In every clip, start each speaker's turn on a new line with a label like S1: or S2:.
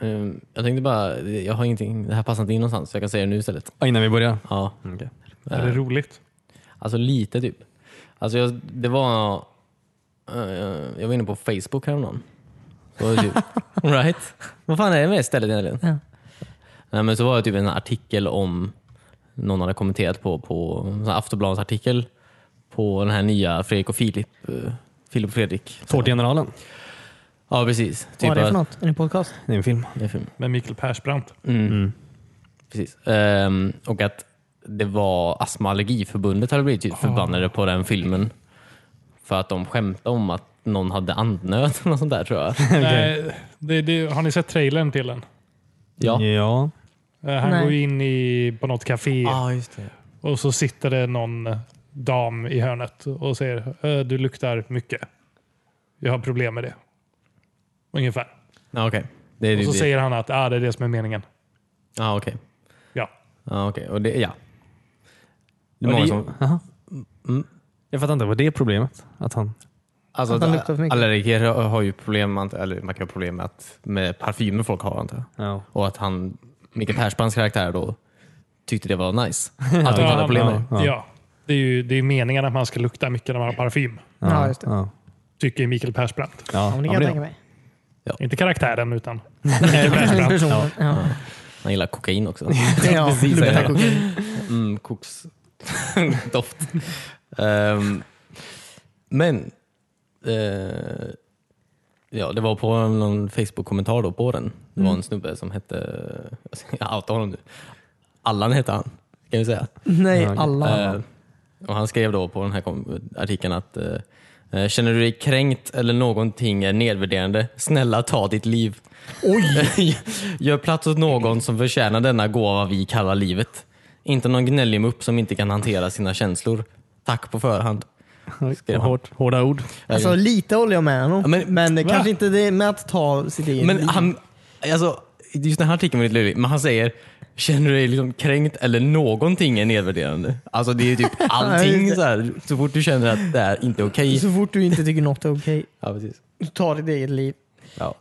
S1: Ehm, Jag tänkte bara, jag har ingenting, det här passar inte in någonstans så jag kan säga det nu istället.
S2: Ja, innan vi börjar. Eh,
S1: Ja,
S3: Är det roligt?
S1: alltså lite typ. Alltså jag, det var, eh, jag var inne på Facebook häromdagen. Så var det typ, right? Vad fan är det med stället egentligen?
S4: Ja.
S1: Nej, men så var det typ en artikel om, någon hade kommenterat på, på en sån här Aftonbladets artikel på den här nya Fredrik och Filip, eh, Filip och Fredrik.
S2: Tårtgeneralen. Typ
S1: Ja precis. Typ
S4: Vad är det
S1: att-
S4: för något? Är det en podcast?
S2: Det är en film.
S1: det är film.
S3: Med Mikael Persbrandt.
S1: Mm. Precis. Ehm, och att det var Astma och Allergiförbundet hade blivit typ förbannade på den filmen. För att de skämtade om att någon hade andnöd eller något sånt där tror jag.
S3: Nej, det, det, har ni sett trailern till den?
S1: Ja.
S2: ja.
S3: Eh, Han
S4: Nej.
S3: går ju in i, på något café
S1: just det.
S3: och så sitter det någon dam i hörnet och säger "Eh, du luktar mycket. Jag har problem med det. Ungefär.
S1: Ja, okej. Det är
S3: Och
S1: det.
S3: så
S1: det-
S3: säger han att ah, det är det som är meningen.
S1: Ja, okej.
S3: Ja.
S1: Ja, okej. Och det, ja. Det
S2: Och
S1: är många
S2: det-
S1: som...
S2: Jaha. Mm. Jag fattar inte, vad det är problemet? Att han...
S1: Alltså,
S4: Att han luktar för mycket.
S1: allergiker har har ju problem med, eller man kan ha problem med, att, med parfymer folk har antar jag.
S2: Ja.
S1: Och att han, Mikael Persbrandts karaktär då, tyckte det var nice. Att han inte hade
S3: han-
S1: problem med det.
S3: ja. Det är ju det är meningen att man ska lukta mycket när man har parfym.
S4: Ja, just det. Ja,
S2: Ja.
S3: Tycker Mikael Persbrandt.
S2: Ja.
S4: men det
S2: Ja,
S4: kan jag
S2: men
S4: tänka mig.
S3: Inte karaktären utan
S4: Personen. Ja.
S1: Han gillar kokain också.
S4: Ja,
S1: Precis,
S4: luktar
S1: ja.
S4: kokain.
S1: Mm, koks doft. Ehm, men, eh, ja det var på någon Facebook-kommentar då på den. Det var en snubbe som hette, jag outar honom nu, Allan hette han kan vi säga.
S4: Nej,
S2: Ja, okej.
S4: alla.
S1: Eh, och han skrev då på den här kom- artikeln att eh, eh, Känner du dig kränkt eller någonting är nedvärderande? Snälla ta ditt liv. Oj! Gör plats åt någon som förtjänar denna gåva vi kallar livet. Inte någon gnällig mupp som inte kan hantera sina känslor. Tack på förhand. Skrev han.
S2: Hårt, hårda ord.
S4: Alltså lite håller jag med honom.
S1: Ja, men-
S4: men det kanske inte det med att ta sitt eget
S1: Men
S4: liv.
S1: han, alltså, just den här artikeln var lite löjlig, men han säger Känner du dig liksom kränkt eller någonting är nedvärderande? Alltså det är typ allting så, här, så fort du känner att det är inte okej.
S4: Så fort du inte tycker något är okej,
S1: Ja, precis.
S4: ta ditt eget liv.
S1: Ja.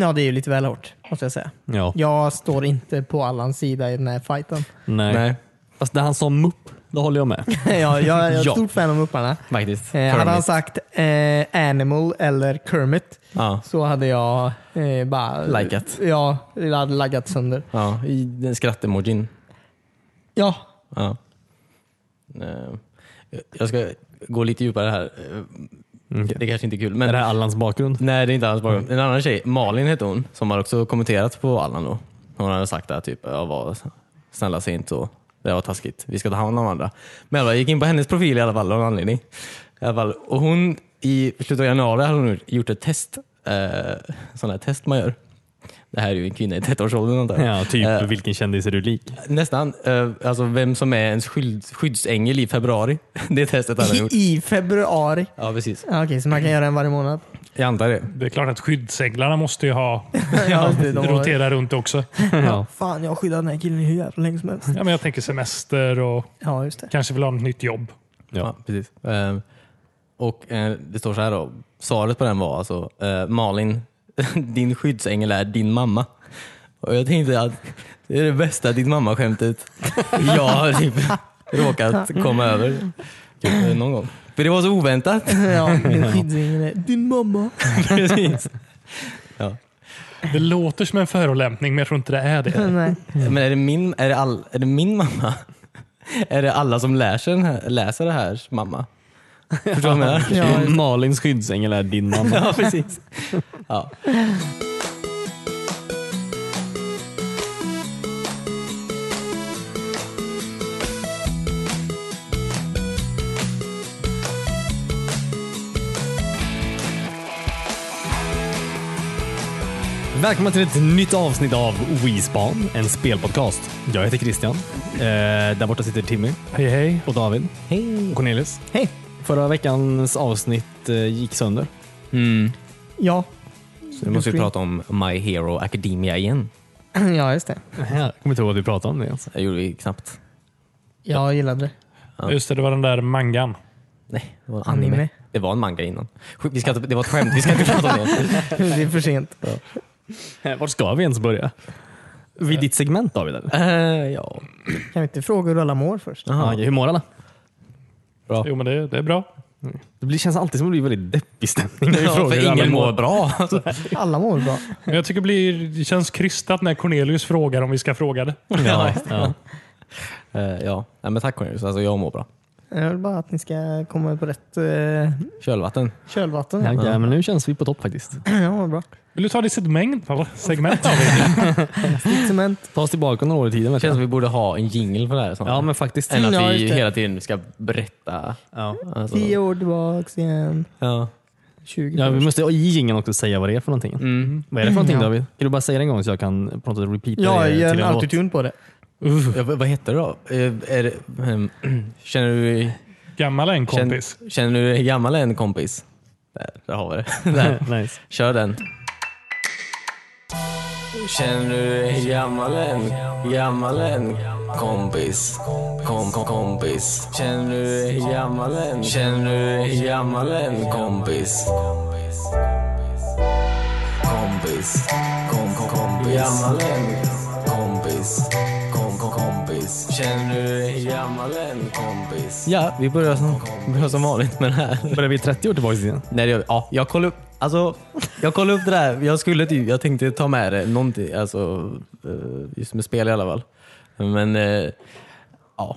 S4: Ja, det är ju lite väl hårt, måste jag säga.
S2: Ja.
S4: Jag står inte på Allans sida i den här fighten.
S2: Nej.
S1: Nej,
S2: Fast det han sa mupp, då håller jag med.
S4: ja, jag jag är ett
S1: Ja.
S4: stort fan av mupparna.
S1: faktiskt.
S4: Eh, hade han
S1: Kermit.
S4: sagt eh, Animal eller Kermit
S1: Ja.
S4: så hade jag eh, bara...
S1: Likat.
S4: Ja, jag hade laggat sönder.
S1: Ja, i den skrattemojin.
S4: Ja,
S1: Ja. Eh, Jag ska gå lite djupare här. Eh,
S4: Mm,
S1: Det kanske inte är kul. Men...
S2: Är det här Allans bakgrund?
S1: Nej, det är inte alls bara
S4: Mm.
S1: En annan tjej, Malin heter hon, som har också kommenterat på Allan då. Hon hade sagt att typ, jag var snälla säg inte så. Det var taskigt. Vi ska ta hand om andra. Men jag gick in på hennes profil i alla fall av någon anledning. I alla fall. Och hon, i slutet av januari hade hon gjort ett test. Eh, sådana här test man gör. Det här är ju en kvinna i 30-årsåldern antar jag.
S2: Ja, typ
S1: Eh,
S2: vilken kändis är du lik?
S1: Nästan. Eh, alltså vem som är ens skyld, skyddsängel i februari. Det testet han har gjort.
S4: i, i februari.
S1: Ja, precis.
S4: Ja, Okej, så man kan göra en varje månad?
S1: Jag antar det.
S3: Det är klart att skyddsänglarna måste ju ha
S4: ja, det, de har,
S3: rotera runt också.
S2: Ja.
S4: fan, jag har skyddat den här killen hur jävla länge som helst.
S3: Ja, men jag tänker semester och
S4: Ja, just det.
S3: kanske vill ha ett nytt jobb.
S1: Ja, precis. Ehm, och eh, det står så här då. Svaret på den var alltså eh, Malin, din skyddsängel är din mamma. Och jag tänkte att det är det bästa din mamma-skämtet jag har typ råkat komma över typ, eh, någon gång. För det var så oväntat.
S4: Ja, min skyddsängel är din mamma.
S1: precis. Ja.
S3: Det låter som en förolämpning, men jag tror inte det är det.
S4: Nej.
S1: Men är det, min, är, det all, är det min mamma? Är det alla som läser, den här, läser det här mamma? Förstår du vad jag menar?
S4: Ja,
S2: Malins skyddsängel är din mamma.
S1: Ja, precis. Ja.
S2: Välkomna till ett nytt avsnitt av WeSpan, en spelpodcast. Jag heter Christian. Eh, där borta sitter Timmy
S3: Hej hej.
S2: och David
S1: Hej.
S2: och Cornelis.
S4: Hej.
S2: Förra veckans avsnitt eh, gick sönder.
S1: Mm.
S4: Ja.
S1: Så nu måste vi prata om My Hero Academia igen.
S4: Ja, just det.
S2: Jag kommer inte ihåg vad vi pratade om det ens.
S1: Det gjorde vi knappt.
S4: Jag gillade det.
S3: Just det, det var den där mangan.
S1: Nej, det var en anime.
S4: Anime.
S1: Det var en manga innan. Skit, Vi ska inte, det var ett skämt, vi ska inte prata om det.
S4: Det är för sent.
S2: Eh, Vart ska vi ens börja? Vid ditt segment David? Eller?
S1: Eh, ja.
S4: Kan vi inte fråga hur alla mår först?
S2: Ja, hur mår alla?
S1: Bra.
S3: Jo, men det, det är bra.
S2: Det blir, känns alltid som att det blir väldigt deppig stämning när vi
S1: Ja,
S2: frågar hur
S1: för
S2: alla
S1: ingen mår
S2: mår.
S1: bra.
S4: Alla mår bra.
S3: Men jag tycker det, blir, det känns krystat när Cornelius frågar om vi ska fråga det.
S2: Ja, ja.
S1: Eh, ja. Nej, men tack Cornelius, alltså, jag mår bra.
S4: Jag vill bara att ni ska komma på rätt eh,
S1: Kölvatten.
S4: kölvatten.
S2: Ja,
S4: Ja,
S2: ja, men nu känns vi på topp faktiskt.
S4: jag mår bra.
S3: Vill du ta ditt segment? Palle? Segment har vi.
S4: Cement.
S2: Ta oss tillbaka några år i tiden.
S1: Det
S2: vet
S1: känns
S2: jag.
S1: som vi borde ha en jingle för det här. snarare.
S2: Ja, men faktiskt.
S1: Än
S4: Ja,
S1: att vi
S4: just det.
S1: hela tiden ska berätta.
S2: Ja.
S1: Alltså,
S4: Tio år tillbaks igen.
S1: ja.
S4: 20
S2: Ja, vi
S4: först.
S2: måste i jingeln också säga vad det är för någonting.
S1: Mm.
S2: Vad är det för någonting
S4: Ja.
S2: David? Kan du bara säga det en gång så jag kan på något sätt repeata
S4: Ja,
S2: det
S4: gör
S2: till
S4: en
S2: en låt?
S4: autotune på det.
S1: Ja, vad vad heter det då? Eh, Är det, ehm, känner, du,
S3: Gammal är en
S1: känner,
S3: kompis.
S1: känner du dig gammal än kompis? Där, där har vi det. Där.
S2: nice.
S1: Kör den. Känner du dig gammal än, gammal än kompis? Kom, kom, kompis. Känner du dig gammal än, känner du dig gammal än kompis? Kompis, kom, kom, kompis. Gammal än kompis, kom, kom, kompis. Känner du dig gammal än kompis? Ja, vi börjar som, börjar som vanligt med det här.
S2: Börjar vi 30 år tillbaka i tiden?
S1: Nej, det gör vi. Ja, jag kollade upp, alltså, jag kollade upp det där. Jag, skulle, typ- jag tänkte ta med det, någonting, alltså, eh, just med spel i alla fall. Men eh, ja.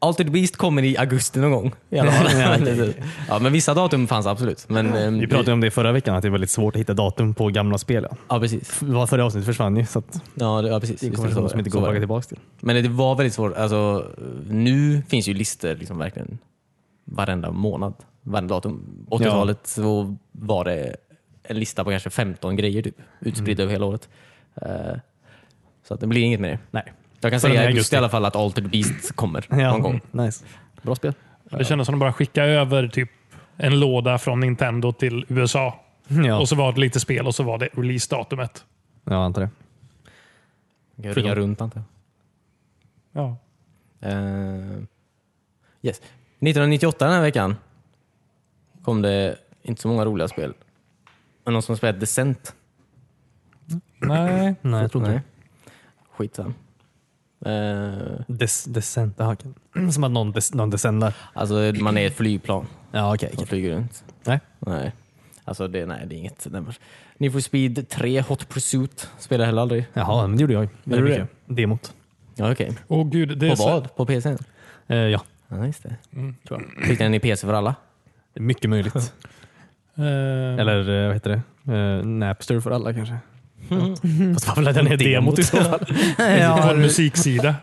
S1: Altered Beast kommer i augusti någon gång. I alla fall.
S2: Ja, okej,
S1: ja, men vissa datum fanns absolut. Men, eh,
S2: Vi pratade om det förra veckan, att det är väldigt svårt att hitta datum på gamla spel. Ja.
S1: Ja, precis.
S2: Det var Förra avsnittet försvann ju, så att
S1: Ja, det, ja, precis.
S2: det är en
S1: Just det, så
S2: konversation
S1: var
S2: som
S1: det.
S2: inte
S1: Så
S2: går
S1: var
S2: tillbaka
S1: det.
S2: tillbaka till.
S1: Men det var väldigt svårt. Alltså, nu finns ju listor liksom verkligen varenda månad, varenda datum. 80-talet så var det en lista på kanske 15 grejer typ,
S2: Mm.
S1: utspridda över hela året. Eh, så att det blir inget med det.
S2: Nej.
S1: Jag kan
S2: Förrän i
S1: säga
S2: augusti.
S1: just i alla fall att Altered Beast kommer
S2: Ja.
S1: någon gång.
S2: Nice. Bra spel.
S3: Det kändes som att de bara skickade över typ en låda från Nintendo till USA.
S2: Ja,
S3: Och så var det lite spel och så var det releasedatumet.
S2: ja jag antar det.
S1: Jag kan ringa runt antar jag.
S3: Ja.
S1: Eh, yes. 1998 den här veckan kom det inte så många roliga spel. Men någon som har spelat Descent?
S3: Nej.
S2: Nej, jag tror inte
S1: Nej. Skitsam. Eh,
S2: det. Des, descent, jaha, okej. Som att någon, des, någon descendar.
S1: Alltså man är ett flygplan
S2: Ja, okej.
S1: som
S2: okej.
S1: flyger runt.
S2: Nej.
S1: Nej. Alltså det, nej, det är inget. Ni får Speed 3 Hot Pursuit spelar jag heller aldrig.
S2: Jaha, men det gjorde jag ju. Väldigt
S1: du
S2: mycket. Demot.
S1: Ja, okej.
S3: Åh gud. Det är
S1: På
S3: så-
S1: vad? På PC?
S2: Eh, ja,
S1: Ja, just det.
S3: Mm.
S1: Tror jag. Fick den i PC för alla?
S2: det är mycket möjligt.
S3: Eh,
S2: Eller eh, vad heter det? Eh, Napster för alla kanske.
S1: Mm.
S2: Fast vad laddade ner demot i så fall?
S3: Vår
S4: Ja,
S3: musiksida.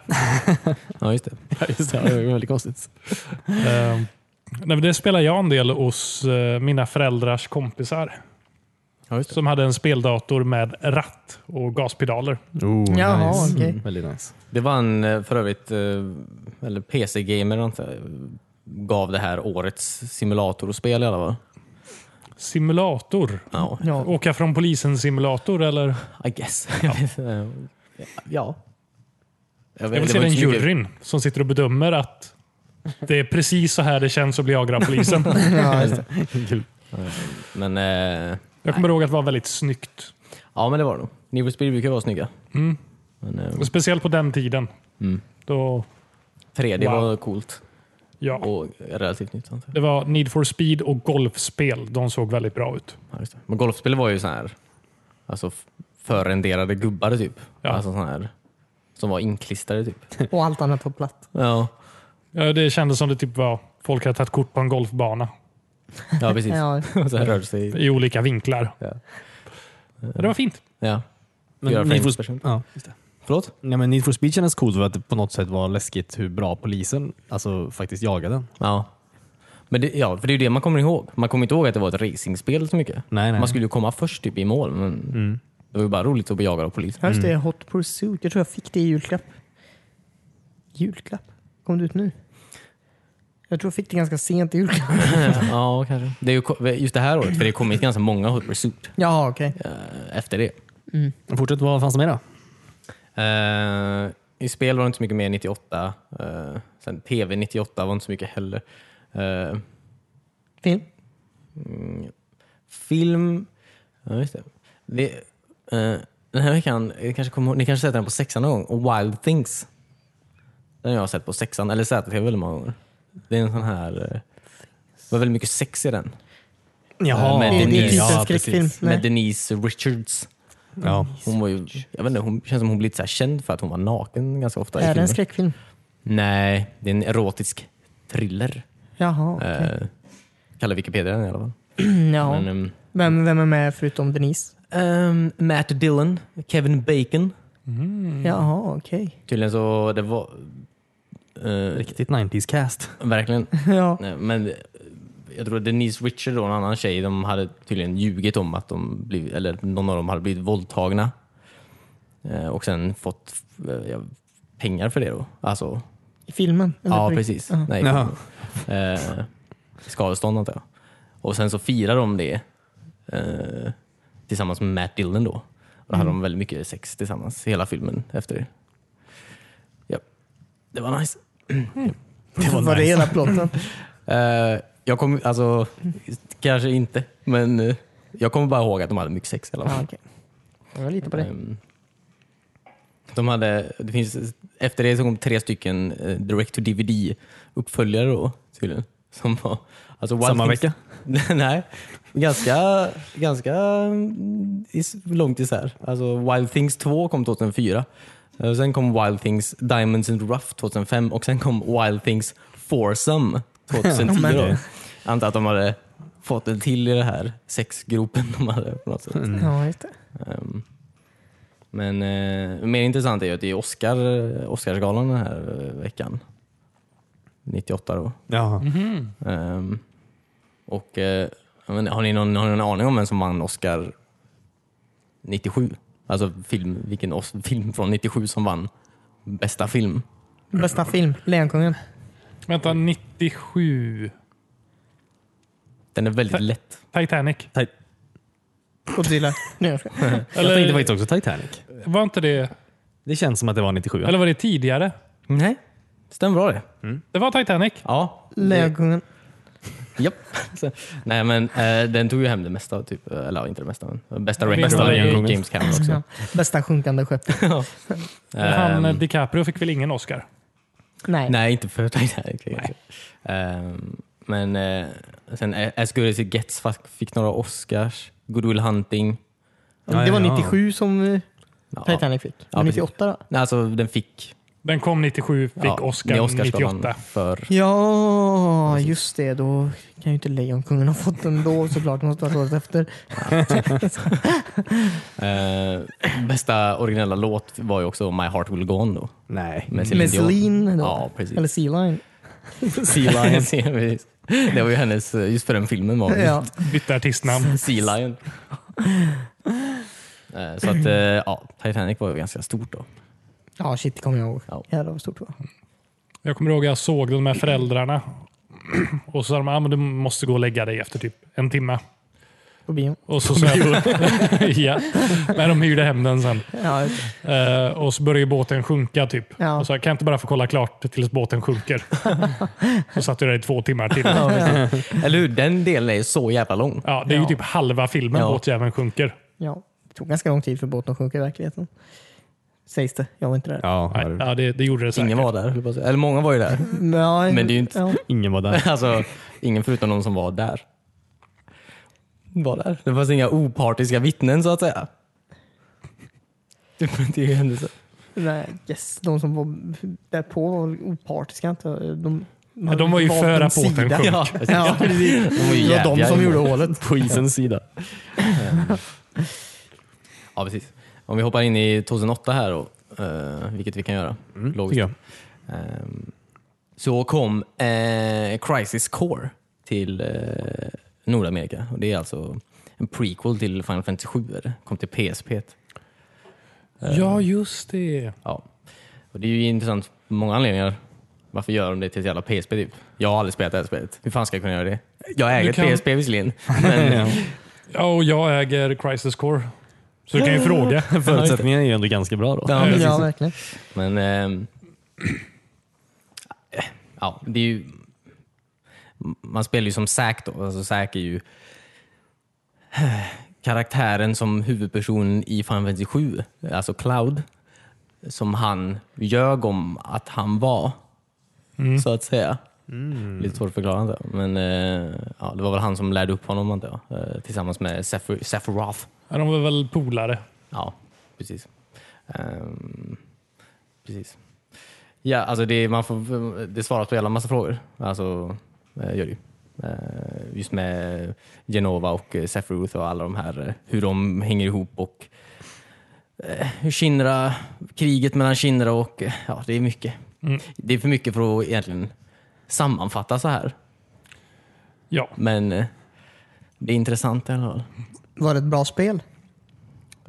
S1: Ja, just det.
S2: Ja, just det. Det var väldigt konstigt.
S3: Eh, nej, men det spelar jag en del hos eh, mina föräldrars kompisar.
S1: Ja, just det.
S3: Som hade en speldator med ratt och gaspedaler.
S2: Oh,
S4: Jaha,
S2: nice.
S4: okej.
S2: Mm, Väldigt nice.
S1: Det var en eh, för övrigt, eh, eller PC-gamer antar jag, gav det här årets simulatorspel i alla fall.
S3: Simulator.
S1: Ja,
S4: ja.
S3: Åka från polisen simulator eller?
S1: I guess. Ja. ja. Jag,
S3: Jag vill se den juryn som sitter och bedömer att det är precis så här det känns att bli jagad av polisen.
S4: ja, just det.
S1: Men, eh,
S3: Jag kommer ihåg att det var väldigt snyggt.
S1: ja, men det var det nog. Need for Speed brukar vara snygga.
S3: Mm.
S1: Men, eh,
S3: Och Speciellt på den tiden.
S1: Mm.
S3: Då,
S1: 3D
S3: Wow.
S1: var coolt
S3: ja.
S1: och relativt nytt. antar jag.
S3: Det var Need for speed och golfspel. De såg väldigt bra ut.
S1: Ja, just det. Men golfspel var ju så här, alltså f- förrenderade gubbar typ.
S3: Ja.
S1: Alltså sån här, som var inklistrade typ.
S4: Och allt annat var platt.
S1: Ja,
S3: Ja, Det kändes som det typ var folk hade tagit kort på en golfbana
S1: ja precis.
S4: Ja,
S1: Och så här rörde sig.
S3: i olika vinklar.
S1: Ja.
S3: Men Det var fint.
S1: Ja.
S2: Men
S1: Fyra
S2: Need for,
S1: frames per sekund.
S2: ja, just det.
S1: Förlåt?
S2: Nej, men Need for Speed kändes coolt för att det på något sätt var läskigt hur bra polisen alltså, faktiskt jagade den.
S1: Ja. Men det, ja, för det är ju det man kommer ihåg. Man kommer inte ihåg att det var ett racingspel så mycket.
S2: Nej, nej.
S1: Man skulle ju komma först typ i mål, men det var ju bara roligt att bli jagad av polisen.
S4: just det. Hot Pursuit. Jag tror jag fick det i julklapp. Julklapp? Kom det ut nu? Jag tror jag fick det ganska sent i julklapp.
S1: ja, kanske. Det är ju, ko- just det här året, för det har kommit ganska många Hot Pursuit
S4: Ja, okej.
S1: eh, efter det.
S2: Fortsätt, vad fanns det mer då?
S1: Eh, I spel var det inte så mycket mer 98. eh, sen TV 98 var inte så mycket heller. Eh,
S4: Film?
S1: film... Ja, just det. det Eh, den här veckan, eh, kanske kommer, ihåg- ni kanske sett den på sexan någon gång? Och Wild Things. Den har jag sett på sexan, eller ZTV väldigt många gånger. Det är en sån här... eh, Det var väldigt mycket sex i den.
S2: Jaha.
S1: Men
S4: det, är- det är
S1: Denise.
S4: inte en
S2: Eh, ja,
S4: skräckfilm.
S2: precis.
S1: Med
S4: Nej.
S1: Denise Richards.
S2: Ja.
S1: Hon var ju, jag vet inte, hon känns som hon blivit så här känd för att hon var naken ganska ofta i
S4: Är det en
S1: filmer.
S4: skräckfilm?
S1: Nej, det är en erotisk thriller.
S4: Jaha, okej.
S1: Eh, kallar Wikipedia den i alla fall.
S4: ja.
S1: Men, ehm,
S4: vem, vem är med förutom Denise?
S1: ehm, Matt Dillon, Kevin Bacon.
S4: Jaha, okej.
S1: Tydligen så, det var... eh,
S2: Riktigt 90s cast.
S1: verkligen.
S4: Ja.
S1: Nej, Eh, men jag tror att Denise Richard och en annan tjej, de hade tydligen ljugit om att de blivit, eller någon av dem hade blivit våldtagna. Eh, och sen fått eh, ja, pengar för det då. Alltså,
S4: I filmen? eller
S1: ja
S4: på riktigt?
S1: precis.
S4: Ja.
S1: Nej,
S2: Jaha.
S1: eh, skadestånd antar jag. Och sen så firar de det eh, tillsammans med Matt Dillon då. Och då hade
S4: Mm.
S1: de väldigt mycket sex tillsammans hela filmen efter det. Ja, det var nice.
S4: Det var, det hela plotten.
S1: Eh, jag kommer, alltså, kanske inte, men eh, jag kommer bara ihåg att de hade mycket sex i alla
S4: ja,
S1: fall.
S4: okej. Jag litar på det.
S1: Ehm, de hade, det finns, efter det så kom tre stycken eh, direct to DVD uppföljare då tydligen. Som var, alltså Wild
S2: Samma
S1: Things-
S2: vecka?
S1: Nej, ganska, ganska mm, is- långt isär. Alltså Wild Things 2 kom 2004. Eh, Sen kom Wild Things Diamonds and Rough 2005 och sen kom Wild Things Foursome 2010.
S2: men-
S1: då. Antar att de hade fått en till i det här sexgropen de hade på något sätt.
S4: Ja, just det.
S1: Ehm, Men eh, mer intressant är ju att det är Oscar, eh, Oscarsgalan den här eh, veckan. 98 då.
S2: Jaha.
S1: Ehm, och, eh, jag vet inte, har, ni någon, har ni någon aning om vem som vann Oscar 97? Alltså film, vilken os- film från 97 som vann bästa film?
S4: Bästa film? Lejonkungen?
S3: Vänta, 97.
S1: Den är väldigt
S3: Ta-
S1: lätt.
S3: Titanic.
S4: Godzilla? Nej, jag skojar.
S2: Jag tänkte
S3: Eller
S2: faktiskt också Titanic.
S3: var inte det...
S2: Det känns som att det var 97.
S3: Eller var det tidigare?
S1: Nej, stämmer bra det.
S3: Det var Titanic.
S1: Ja. det-
S4: Lejonkungen?
S1: Japp. Så- Nej men eh, den tog ju hem det mesta, typ, eller inte det mesta men bästa rating
S3: Bästa
S1: var ju
S2: Lejonkungen.
S1: James Cameron också.
S4: Ja. Bästa sjunkande skepp?
S3: Han, eh,
S1: Ehm,
S3: DiCaprio fick väl ingen Oscar?
S4: Nej.
S1: Nej, inte för Titanic. Ehm, men eh, sen A- As Good As It Gets fa- fick några Oscars. Goodwill Hunting.
S4: Det var
S2: Ja, ja, ja.
S4: 97 som eh,
S1: Ja.
S4: Titanic fick.
S1: Ja, precis.
S4: 98 då?
S1: Nej, alltså den fick...
S3: Den kom 97, fick
S1: ja,
S3: Oscar
S1: med Oscarsgalan
S3: 98.
S1: För,
S4: Ja, just det. Då kan ju inte Lejonkungen ha fått den då såklart. Det måste ha varit året efter.
S1: eh, bästa originella låt var ju också My Heart Will Go On då.
S2: Nej.
S1: Med
S4: Mm. Med Celine. Då.
S1: Ja, precis.
S4: Eller Sea Lion.
S1: Sea Lion. precis. det var ju hennes, eh, just för den filmen var det.
S4: Ja.
S3: Bytte artistnamn.
S1: Sea Lion. Eh, Så att, eh, ja, Titanic var ju ganska stort då.
S4: ja, shit det kommer jag ihåg.
S1: Ja.
S4: Jävlar vad stort det var.
S3: Jag kommer ihåg att jag såg den med föräldrarna. Och så sa de att ah, men du måste gå och lägga dig efter typ en timme.
S4: På bion.
S3: Och så sa jag, ja. Men de hyrde hem den sen.
S4: Ja, just det.
S3: Eh, och så började båten sjunka typ.
S4: Ja.
S3: Och så kan jag inte bara få kolla klart tills båten sjunker? så satt jag där i två timmar till.
S1: Eller hur? Den delen är ju så jävla lång.
S3: Ja, det är ju
S4: Ja.
S3: typ halva filmen
S1: Ja.
S3: båtjäveln sjunker.
S4: ja. det tog ganska lång tid för båten att sjunka i verkligheten. Sägs det. Jag var inte där.
S2: Ja,
S3: Nej,
S2: här-
S3: ja, det, det gjorde det säkert.
S1: Ingen var där, höll jag på att säga. eller många var ju där.
S4: Men, ja,
S1: Men det är ju inte-
S4: Ja.
S2: ingen var där.
S1: Alltså, ingen förutom de som var där. Var där. Det fanns inga opartiska vittnen så att säga. Det det är ju händelser.
S4: Nej, yes. De som var där på var väl opartiska. inte? De,
S3: Ja, de var ju
S4: valt
S3: för
S4: en
S3: att båten
S4: sida.
S3: sjönk.
S1: Ja,
S4: Ja, precis.
S1: De var ju
S4: Det var de
S1: jävliga
S4: som
S1: i
S4: gjorde
S1: mål.
S4: hålet.
S2: På isens sida.
S1: Ja, precis. Om vi hoppar in i 2008 här då, eh, vilket vi kan göra. Logiskt.
S2: Ja.
S1: Ehm, så kom eh, Crisis Core till eh, Nordamerika. Och det är alltså en prequel till Final Fantasy 7. är det. Kom till PSP.
S3: Ja, just det.
S1: Eh, Ja. Och det är ju intressant på många anledningar. Varför gör de det till ett jävla PSP typ? Jag har aldrig spelat det här spelet. Hur fan ska jag kunna göra det? Jag
S3: Du
S1: äger
S3: kan-
S1: ett PSP visserligen. Men,
S3: Ja, och jag äger Crisis Core. Så du kan ju fråga.
S2: Förutsättningarna är ju ändå ganska bra då.
S1: Ja,
S4: Ja,
S1: precis.
S4: verkligen.
S1: men ehm, eh, ja, det är ju... Man spelar ju som Zack då. Alltså Zack är ju karaktären som huvudpersonen i Final Fantasy 7, alltså Cloud, som han ljög om att han var. Så att säga. Lite svårt att förklara antar jag. men eh, ja, det var väl han som lärde upp honom antar jag. Eh, tillsammans med Sephi- Sephiroth.
S3: Ja, de var väl polare.
S1: Ja, precis. Ehm, precis. Ja, alltså det, man får, det svaras på hela massa frågor. Alltså, eh, gör det ju. Eh, Just med Genova och eh, Sephiroth och alla de här, eh, hur de hänger ihop och eh, hur Shinra, kriget mellan Shinra och, eh, ja det är mycket.
S3: Mm.
S1: Det är för mycket för att egentligen sammanfatta så här.
S3: Ja,
S1: Men eh, det är intressant i alla fall.
S4: Var det ett bra spel?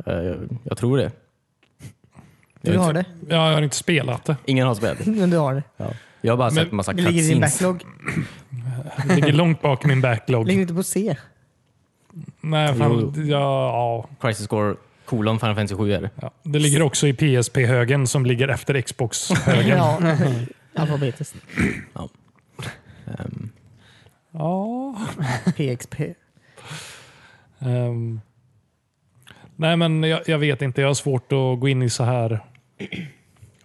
S1: Eh, Jag, jag tror det.
S4: Du
S1: Jag
S4: har det.
S3: jag har inte spelat det.
S1: Ingen har spelat det.
S4: Men du har det.
S1: Jag har bara sett
S3: Men
S1: massa
S4: Det ligger i din
S1: cutscenes.
S4: backlog.
S3: Det ligger långt bak i min backlog.
S4: Ligger inte på C.
S3: Nej,
S1: Jo,
S3: fan, ja, ja.
S1: Crisis Score kolon Final Fantasy 7 är det.
S3: Ja. Det ligger också i PSP-högen som ligger efter Xbox-högen.
S4: Ja. Alfabetiskt.
S1: Ehm,
S3: ja.
S4: PXP.
S3: Ehm. nej, men jag, jag vet inte. Jag har svårt att gå in i så här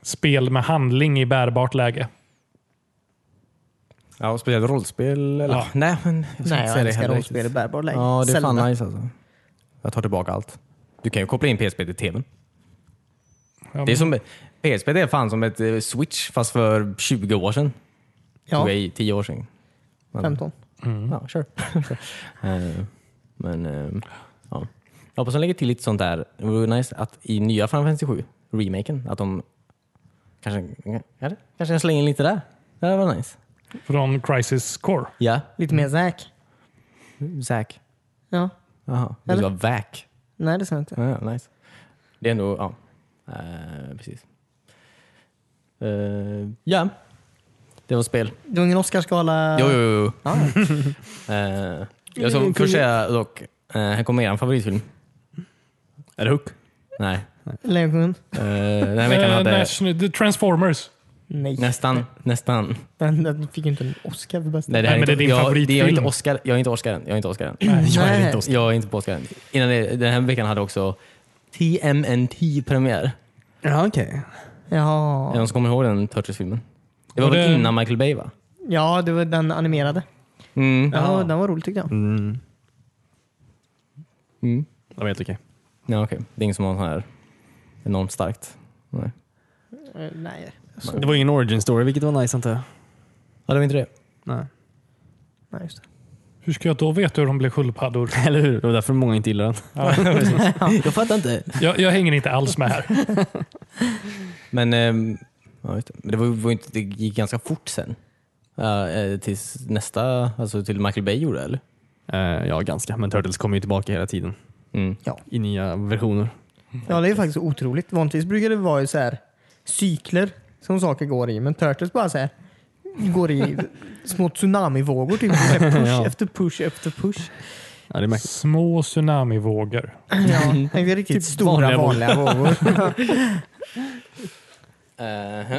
S3: spel med handling i bärbart läge.
S1: ja, och spelat rollspel eller?
S3: Ja.
S1: Nej, men jag ska inte
S4: Nej, jag
S1: säga det
S4: älskar
S1: heller
S4: rollspel i
S1: riktigt.
S4: bärbar läge.
S1: Ja, det är fan
S4: Zelda.
S1: nice alltså. Jag tar tillbaka allt. Du kan ju koppla in PSP till tvn.
S3: Ja,
S1: Det är som, PSP det är fan som ett eh, switch fast för 20 år sedan.
S4: Ja,
S1: Tog jag 10 år sedan. Men,
S4: 15.
S1: Ja, sure. Ehm, men ehm, ja. Jag hoppas de lägger till lite sånt där. Det vore nice att i nya Final Fantasy 7, remaken, att de kanske, kanske kan slänga in lite där. Det hade varit nice.
S3: Från Crisis Core.
S1: Ja,
S4: Lite mer Zack.
S1: Zack.
S4: Ja.
S1: Jaha, det
S4: Eller?
S1: var Vac.
S4: Nej, det ser jag inte.
S1: Ja, ja, nice. Det är ändå, ja. Eh, precis. Eh, ja, det var spel.
S4: Det var ingen Oscarsgala...
S1: Jo, jo, jo.
S3: Ah.
S4: Ja.
S1: Eh, jag ska först säga dock, eh, här kommer er favoritfilm.
S2: Är det Hook?
S1: Nej.
S4: Lejonkungen?
S1: Uh, den här veckan
S3: Eh,
S1: hade...
S3: Nash- The Transformers.
S4: Nej.
S1: Nästan, nästan.
S4: Den, den fick ju inte en Oscar för bästa.
S1: Nej, det, här
S3: Nej, men det är din
S1: jag, Det, jag, är inte
S3: favoritfilm.
S1: Oscar, jag är inte Oscar än. Jag är inte Oscar än.
S2: Jag är
S4: Nej.
S2: inte Oscar.
S1: Jag är inte på Oscar än. Innan det, den här veckan hade också TMNT premiär.
S2: Ja, okej.
S1: Ja.
S4: Jaha.
S1: De som kommer ihåg den Turtles-filmen. Det var
S3: Var
S1: väl
S3: det-
S1: innan Michael Bay va?
S4: Ja, det var den animerade.
S1: Mm.
S4: Den var, den var rolig tyckte jag.
S2: Mm.
S1: Mm.
S2: Det var helt okej.
S1: Ja, okej. Det är ingen som har sån här enormt starkt. Nej.
S4: Eh, Nej. Så.
S2: Det var ingen origin story, vilket var nice antar jag.
S1: Ja, det var inte det.
S2: Nej.
S4: Nej, just det.
S3: Hur ska jag då veta hur de blev sköldpaddor?
S2: Eller hur? Det var därför många inte gillade den.
S1: Jag fattar inte.
S3: Jag, jag hänger inte alls med här.
S1: Men ehm, ja, just det. Men det, var, var inte, det gick ganska fort sen. Ja, eh, tills nästa, alltså till Michael Bay gjorde det, eller?
S2: Eh, ja, ganska. Men Turtles kommer ju tillbaka hela tiden
S1: Mm.
S2: i nya versioner.
S4: Ja, det är faktiskt otroligt. Vanligtvis brukar det vara ju så här cykler som saker går i, men Turtles bara så här går i små tsunamivågor. Typ. Det är så här Push
S2: Ja.
S4: efter push efter push.
S2: Ja, det är märkligt.
S3: Små tsunamivågor.
S4: Ja, det är riktigt
S2: Typ
S4: stora
S2: vanliga
S4: vanliga vågor.
S1: Eh,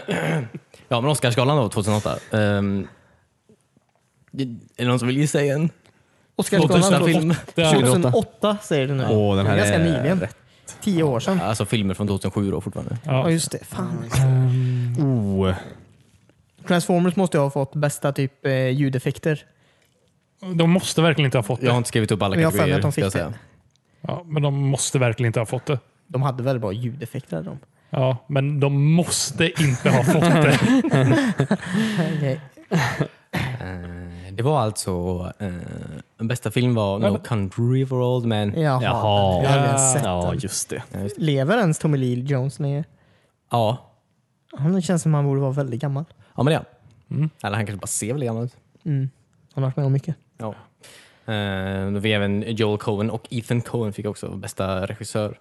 S1: ja, men Oscarsgalan då, 2008. Ehm, det, är det någon som vill gissa igen? Bästa
S4: Oscarsgalan
S1: film.
S3: Det är,
S4: 2008 säger du nu.
S2: Åh, den här
S4: Det är ganska
S2: är
S4: nyligen. Tio år sedan.
S1: Alltså filmer från 2007 då fortfarande.
S4: Ja,
S3: ja.
S4: just det. Fan.
S3: Ehm,
S2: Oh.
S4: Transformers måste jag ha fått bästa typ eh, ljudeffekter.
S3: De måste verkligen inte ha fått
S1: Jag har
S3: det.
S1: inte skrivit upp alla
S4: Men jag har för mig
S1: kategorier.
S4: att de
S1: ska jag
S4: fick
S1: säga.
S3: Ja, men de måste verkligen inte ha fått det.
S4: De hade väldigt bra ljudeffekter. hade De.
S3: Ja, men de måste inte ha fått det.
S4: Okej.
S1: Eh, det var alltså... Eh, bästa film var No Country for Old Men.
S4: Jaha.
S2: Jaha.
S4: Jag har aldrig ens sett
S2: Ja,
S4: den.
S2: just det.
S4: Lever ens Tommy Lee Jones längre?
S1: Ja,
S4: Han känns som han borde vara väldigt gammal.
S1: ja men det är han. Eller han kanske bara ser väldigt gammal ut.
S4: Mm. Han har varit med om mycket.
S1: Ja. Eh, då fick även Joel Cohen och Ethan Cohen fick också bästa regissör.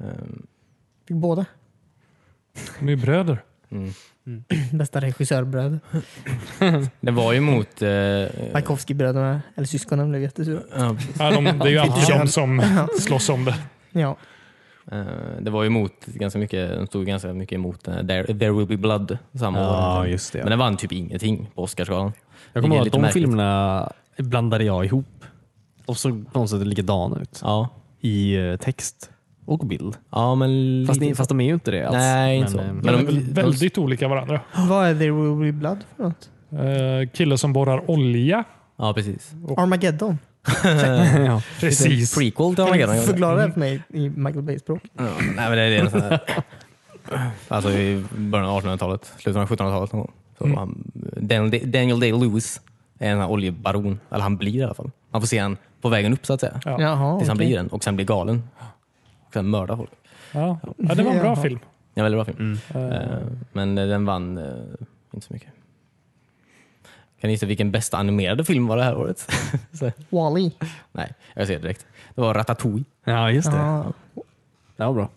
S1: Ehm,
S4: Fick båda.
S3: De är bröder.
S4: Bästa regissörbröder.
S1: det var ju mot... eh, ja,
S4: Wajkowski-bröderna, eller syskonen, blev jättesura.
S3: Ja, de, det är ju alltid de som slåss om det.
S4: Ja.
S1: eh, det var ju emot ganska mycket, de stod ganska mycket emot eh, There, There will be blood samma år.
S2: Ja, just det.
S1: Men den vann typ ingenting på Oscarsgalan.
S2: jag kommer ihåg
S1: Vilket är
S2: att
S1: lite märkligt.
S2: de filmerna blandade jag ihop. Och så på något sätt likadana ut
S1: Ja,
S2: i eh, text och bild.
S1: ja men...
S2: Fast, ni,
S1: lite-
S2: fast de är ju inte det alls.
S1: Nej, inte
S2: men,
S1: så.
S2: eh,
S1: Men
S3: De är
S1: de-
S3: väl
S1: de-
S3: väldigt olika varandra.
S4: Vad är There Will Be Blood för något?
S3: Eh, kille som borrar olja.
S1: Ja, precis.
S4: Armageddon.
S2: eh, ja.
S3: Precis.
S1: Prequel till
S4: Kan
S1: Armageddon. Mm.
S4: du
S1: kanske.
S4: förklara det för mig i Michael Bays språk?
S1: Ja, nej, men det är en sån här... Alltså i början av 1800-talet, slutet av 1700-talet. någon gång. Så
S3: Mm.
S1: han, Daniel, Daniel Day-Lewis är en sån här oljebaron. Eller han blir i alla fall. Man får se han på vägen upp så att säga.
S3: Ja.
S4: Jaha,
S1: Tills han
S4: okej.
S1: blir den och sen blir galen. Och sen mördar folk.
S3: Ja. ja, det var en bra
S4: Jaha.
S3: film.
S1: Det är en väldigt bra film.
S2: Mm.
S3: Eh,
S1: Eh, Men eh, den vann eh, inte så mycket. Kan ni gissa vilken bästa animerade film var det här året?
S4: Wall-E.
S1: Nej, jag ser direkt. Det var Ratatouille.
S2: ja, just det.
S4: Jaha.
S2: Det var bra.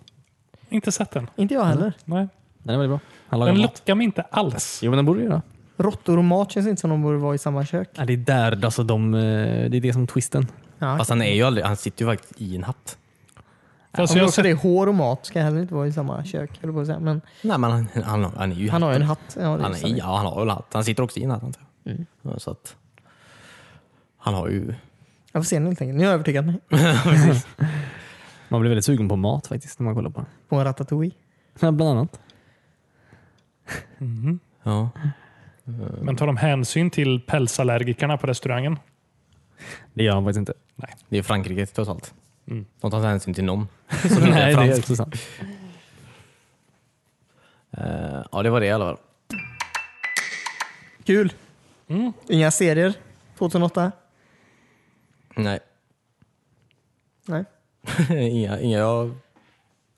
S3: inte sett den.
S4: Inte jag heller.
S3: Nej.
S2: Den är väldigt bra. Han lagar
S3: Den
S2: mat.
S3: lockar mig inte alls.
S2: Jo, men den borde ju det.
S4: Råttor och mat känns inte som de borde vara i samma kök.
S2: Ja, det är där, alltså, de, eh, det är det som twisten.
S4: Ja.
S1: Fast han är ju aldrig, han sitter ju faktiskt i en hatt.
S3: Fast
S4: Om
S3: jag
S4: alltså, jag
S3: har
S4: också
S3: sett,
S4: det är hår och mat ska heller inte vara i samma kök. höll jag på att säga. Men
S1: Nej men han, han, han är ju
S4: han har ju en hatt. Ja, det
S1: Han,
S4: visar
S1: är,
S4: det.
S1: ja, han har väl hatt. Han sitter också i en hatt antar jag.
S4: Mm.
S1: Ja, Så att, han har ju...
S4: Jag får se den helt enkelt. Nu har jag övertygat mig.
S1: Mm.
S2: Man blir väldigt sugen på mat faktiskt när man kollar på den.
S4: På en ratatouille.
S2: Ja, bland annat.
S3: Mhm.
S1: Ja.
S3: Men tar de hänsyn till pälsallergikerna på restaurangen?
S2: Det gör han faktiskt inte.
S1: Det är Frankrike trots allt.
S3: Mm.
S1: De tar inte hänsyn till någon.
S2: Nej, det är
S1: franskt.
S2: också sant.
S1: Eh, ja, det var det i alla fall.
S4: Kul!
S3: Mm.
S4: Inga serier 2008?
S1: Nej,
S4: Nej.
S1: inga, inga jag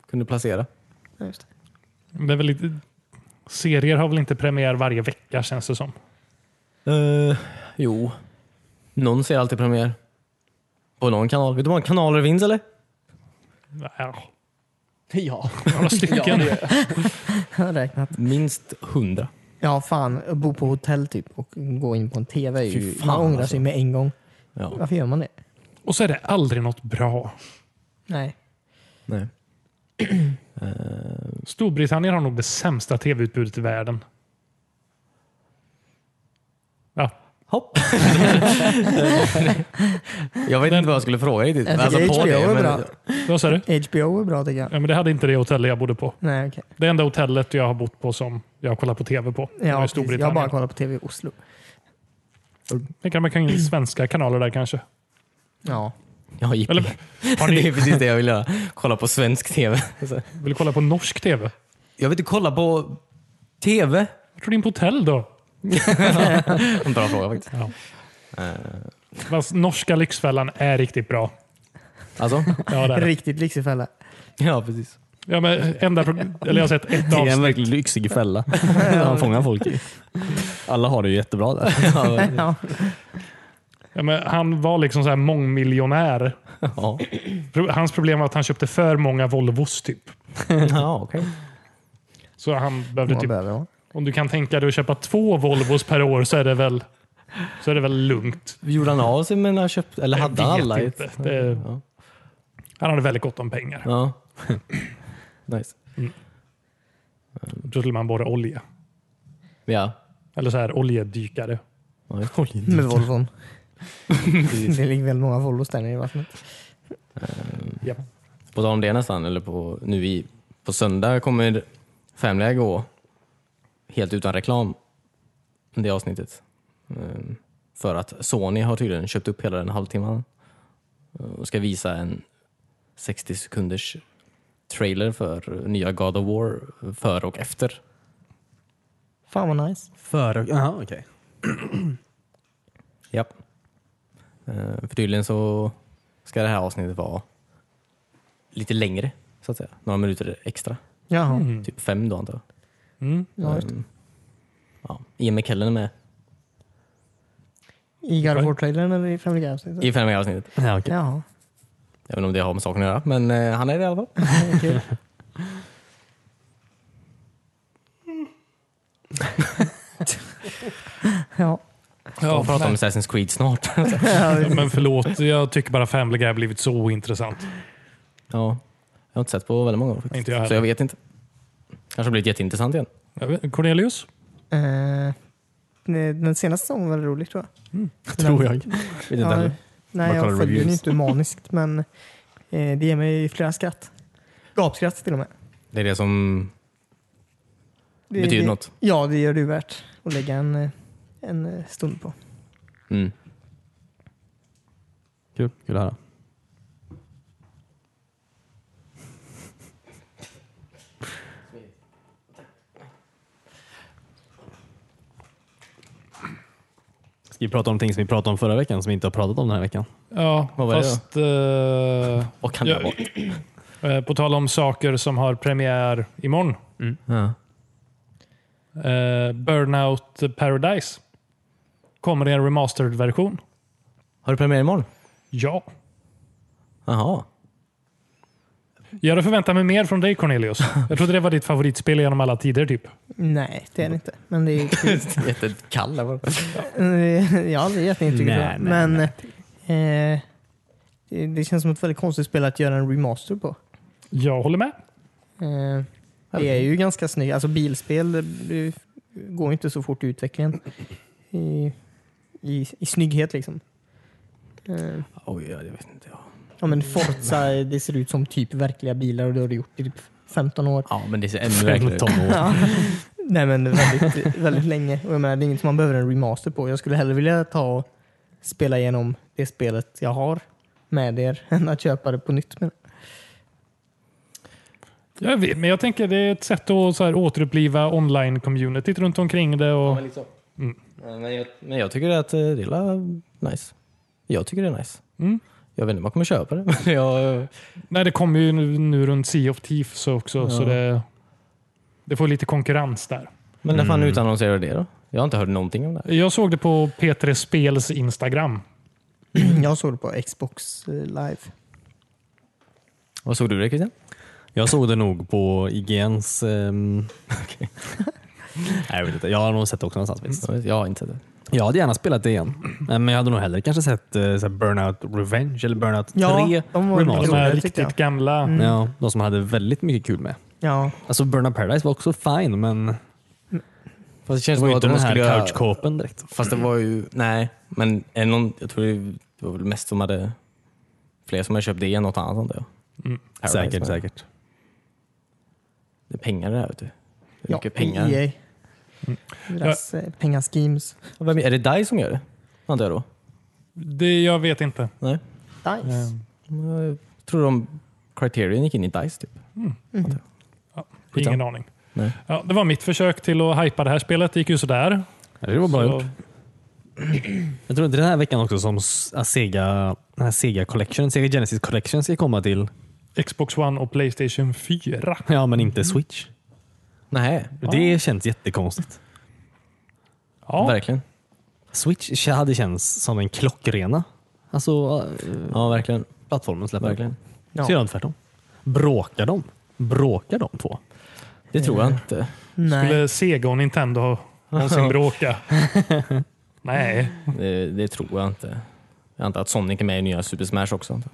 S1: kunde placera.
S4: Ja, just det.
S3: Det är väl lite, serier har väl inte premiär varje vecka känns det som.
S1: Eh, jo, någon ser alltid premiär. På någon kanal. Vet du hur många kanaler det finns eller?
S3: Ja,
S1: Ja.
S3: några stycken.
S4: Jag har räknat.
S1: Minst hundra.
S4: Ja, fan. Att Bo på hotell typ och gå in på en TV. Är ju,
S1: Fy fan,
S4: man ångrar
S1: alltså.
S4: sig med en gång.
S1: Ja.
S4: Varför gör man det?
S3: Och så är det aldrig något bra.
S4: Nej.
S1: Nej. Eh,
S3: Storbritannien har nog det sämsta tv-utbudet i världen. Ja,
S1: Hopp. jag vet inte vad jag skulle fråga riktigt.
S4: Jag tycker HBO är
S1: men-
S4: bra.
S3: vad sa du?
S4: HBO är bra tycker jag.
S3: Ja, men det hade inte det hotellet jag bodde på.
S4: Nej, okej.
S3: Det enda hotellet jag har bott på som jag har kollat på tv på. det var
S4: Ja,
S3: i
S4: precis. jag har bara kollat på TV i Oslo.
S3: Det kan man kan ge svenska kanaler där kanske.
S4: Ja.
S1: Ja, jippi.
S3: Eller har
S1: det är
S3: ni,
S1: precis det jag vill göra. Kolla på svensk tv.
S3: vill du kolla på norsk tv?
S1: Jag vill inte kolla på tv.
S3: Vart tog in på hotell då?
S1: En bra fråga faktiskt.
S3: Ja. Fast norska Lyxfällan är riktigt bra.
S1: Alltså?
S3: Ja, det är. det.
S4: Riktigt lyxig fälla.
S1: Ja, precis.
S3: Ja, men enda, pro- eller jag har sett ett
S2: Det är en
S3: avsnitt.
S2: verkligen lyxig fälla. Han fångar folk i. Alla har det ju jättebra där.
S1: Ja,
S4: Ja.
S3: Ja, men han var liksom så här mångmiljonär.
S1: ja.
S3: Pro- Hans problem var att han köpte för många Volvos. typ.
S1: ja okej.
S3: Så han behövde
S4: Man
S3: typ
S4: behöver ha.
S3: Om du kan tänka dig att köpa två Volvos per år så är det väl, så är det väl lugnt.
S1: Gjorde han av sig med när han köpte, eller hade
S3: Jag
S1: han
S3: vet
S1: alla? i ett-
S3: inte. Det-
S1: Ja.
S3: Han hade väldigt gott om pengar.
S1: ja. Nice.
S3: Då skulle man borra olja.
S1: Ja.
S3: Eller så här oljedykare.
S1: ja just det.
S4: Med Volvon. det ligger väl många Volvos där nere i vattnet.
S1: Mm.
S3: Japp.
S1: på tal om det nästan, eller på, nu i, på söndag kommer Family gå helt utan reklam. Det avsnittet. Ehm, För att Sony har tydligen köpt upp hela den halvtimman och ska visa en 60 sekunders trailer för nya God of War före och efter.
S4: Fan vad nice.
S2: För, aha, okay.
S1: Japp. Eh, För tydligen så ska det här avsnittet vara lite längre, så att säga. Några minuter extra.
S4: Jaha.
S1: Typ fem då antar jag.
S3: Mm.
S4: Ja, just det.
S1: Ehm, ja. Ian McKellen är med
S4: I God of War-trailern eller i Family Guy-avsnittet?
S1: i Family Guy-avsnittet.
S2: Ja, okay.
S4: Jaha.
S1: Jag vet inte om det har med saken att göra, men eh, han är det i alla fall.
S4: Kul. ja.
S1: Ja, pratar om Assassin's Creed snart.
S3: Men förlåt, jag tycker bara Family Guy har blivit så intressant.
S1: ja. Jag har inte sett på väldigt många år faktiskt.
S3: Inte jag heller.
S1: så jag vet inte. Kanske har blivit jätteintressant igen.
S3: Jag vet- Cornelius?
S4: Eh, nej, den senaste säsongen var rolig tror jag.
S2: Tror jag.
S1: Vet inte
S4: Ja,
S1: heller.
S4: Nej,
S2: kollar
S4: jag följer den
S2: reviews.
S4: inte maniskt men eh, det ger mig flera skratt. Gapskratt till och med.
S1: Det är det som
S4: Det,
S1: betyder
S4: det,
S1: något.
S4: Ja, det gör det ju värt att lägga en, eh, en eh, stund på.
S1: Mm.
S2: Kul, kul att höra. Ska vi prata om någonting som vi pratade om förra veckan som vi inte har pratat om den här veckan?
S3: Ja,
S1: Vad var det
S3: fast... eh,
S1: Vad kan det
S3: Ja.
S1: vara?
S3: eh, på tal om saker som har premiär imorgon.
S1: Ja.
S3: Eh, Burnout Paradise kommer i en remastered version.
S1: Har du premiär imorgon?
S3: Ja.
S1: Jaha.
S3: Jag hade förväntat mig mer från dig Cornelius. Jag trodde det var ditt favoritspel genom alla tider. typ.
S4: Nej, det är det inte. Men det är kul.
S1: Jättekall där bara.
S4: Eh, ja, det är jätteintryckande.
S2: Nej, nej,
S4: men eh, det, det känns som ett väldigt konstigt spel att göra en remaster på.
S3: Jag håller med.
S4: Eh, det är ju ganska snyggt. Alltså bilspel eh, går ju inte så fort i utvecklingen. I, i, i snygghet liksom. Eh,
S1: Oj, ja, jag vet inte. Ja.
S4: ja, men Forza, det ser ut som typ verkliga bilar och det har det gjort i typ 15 år.
S1: ja, men det ser ännu verkligare ut.
S4: Ja. Nej men väldigt, väldigt länge. Och jag menar, det är inget som man behöver en remaster på. Jag skulle hellre vilja ta och spela igenom det spelet jag har med er än att köpa det på nytt. Men,
S3: Jag vet, men jag tänker det är ett sätt att så här, återuppliva online-communityt runt omkring det. Och, Mm.
S1: Ja, liksom. Men, jag, men jag tycker att eh, det är la nice. Jag tycker det är nice.
S3: Mm.
S1: Jag vet inte om jag kommer köpa det, men jag,
S3: nej, det kommer ju nu, nu runt Sea of Thieves också, så
S1: Ja.
S3: det, det får lite konkurrens där.
S1: men när fan
S2: Mm.
S1: utannonserar du det då? Jag har inte hört någonting om det. här.
S3: Jag såg det på P3 Spels Instagram.
S4: jag såg det på Xbox eh, live.
S1: Vad såg du det Christian?
S2: Jag såg det nog på IGNs... ehm, Nej, jag vet inte. Jag har nog sett det också någonstans. faktiskt.
S1: Jag vet- Jag har inte sett det.
S2: Jag hade gärna spelat det igen. Eh, Men jag hade nog hellre kanske sett eh, så här Burnout Revenge eller Burnout 3
S4: Ja, de var
S2: Remaster.
S3: De
S4: roliga,
S3: här
S4: tyckte
S3: riktigt
S4: jag.
S3: gamla.
S2: Ja, de som hade väldigt mycket kul med.
S4: Ja,
S2: Alltså Burnout Paradise var också fine, men det
S1: Fast det känns
S2: var
S1: som
S2: ju
S1: att
S2: inte
S1: de
S2: den här
S1: skulle göra...
S2: couch-kåpen direkt.
S1: Fast det var ju, nej. Men är det någon, jag tror det var väl mest som hade, fler som hade köpt det än något annat antar jag.
S3: Mm.
S1: Paradise,
S2: Säkert,
S1: men
S2: säkert.
S1: Det är pengar det här vet du. Det är
S4: ja
S1: mycket pengar.
S4: EA. Deras eh, pengaschemes.
S1: Vem, är det DICE som gör det? Antar jag då?
S3: Det, jag vet inte.
S1: Nej?
S4: Nice.
S1: Ehm,
S3: Eh,
S1: Jag tror de Criterion gick in i DICE typ.
S3: ingen
S1: Skitsamma.
S3: aning.
S1: Nej.
S3: Ja, det var mitt försök till att hypa det här spelet. Det gick ju sådär.
S2: Ja, Det var bra
S3: Så-
S2: gjort. Jag tror inte den här veckan också som s- att Sega, den här Sega Collection, Sega Genesis Collection ska komma till.
S3: Xbox One och Playstation 4.
S2: Ja, men inte Switch.
S1: Nej,
S2: Det känns jättekonstigt.
S3: Ja,
S1: verkligen.
S2: Switch hade känts som en klockrena. Alltså, eh,
S1: Ja, verkligen.
S2: plattformen släpper.
S1: verkligen.
S4: Ja.
S2: Så gör de tvärtom. Bråkar de? Bråkar de två?
S1: Det tror jag inte.
S4: Nej.
S3: skulle Sega och Nintendo någonsin bråka? Nej.
S1: Det, det tror jag inte. Jag antar att Sonic är med i nya Super Smash också. Antar jag.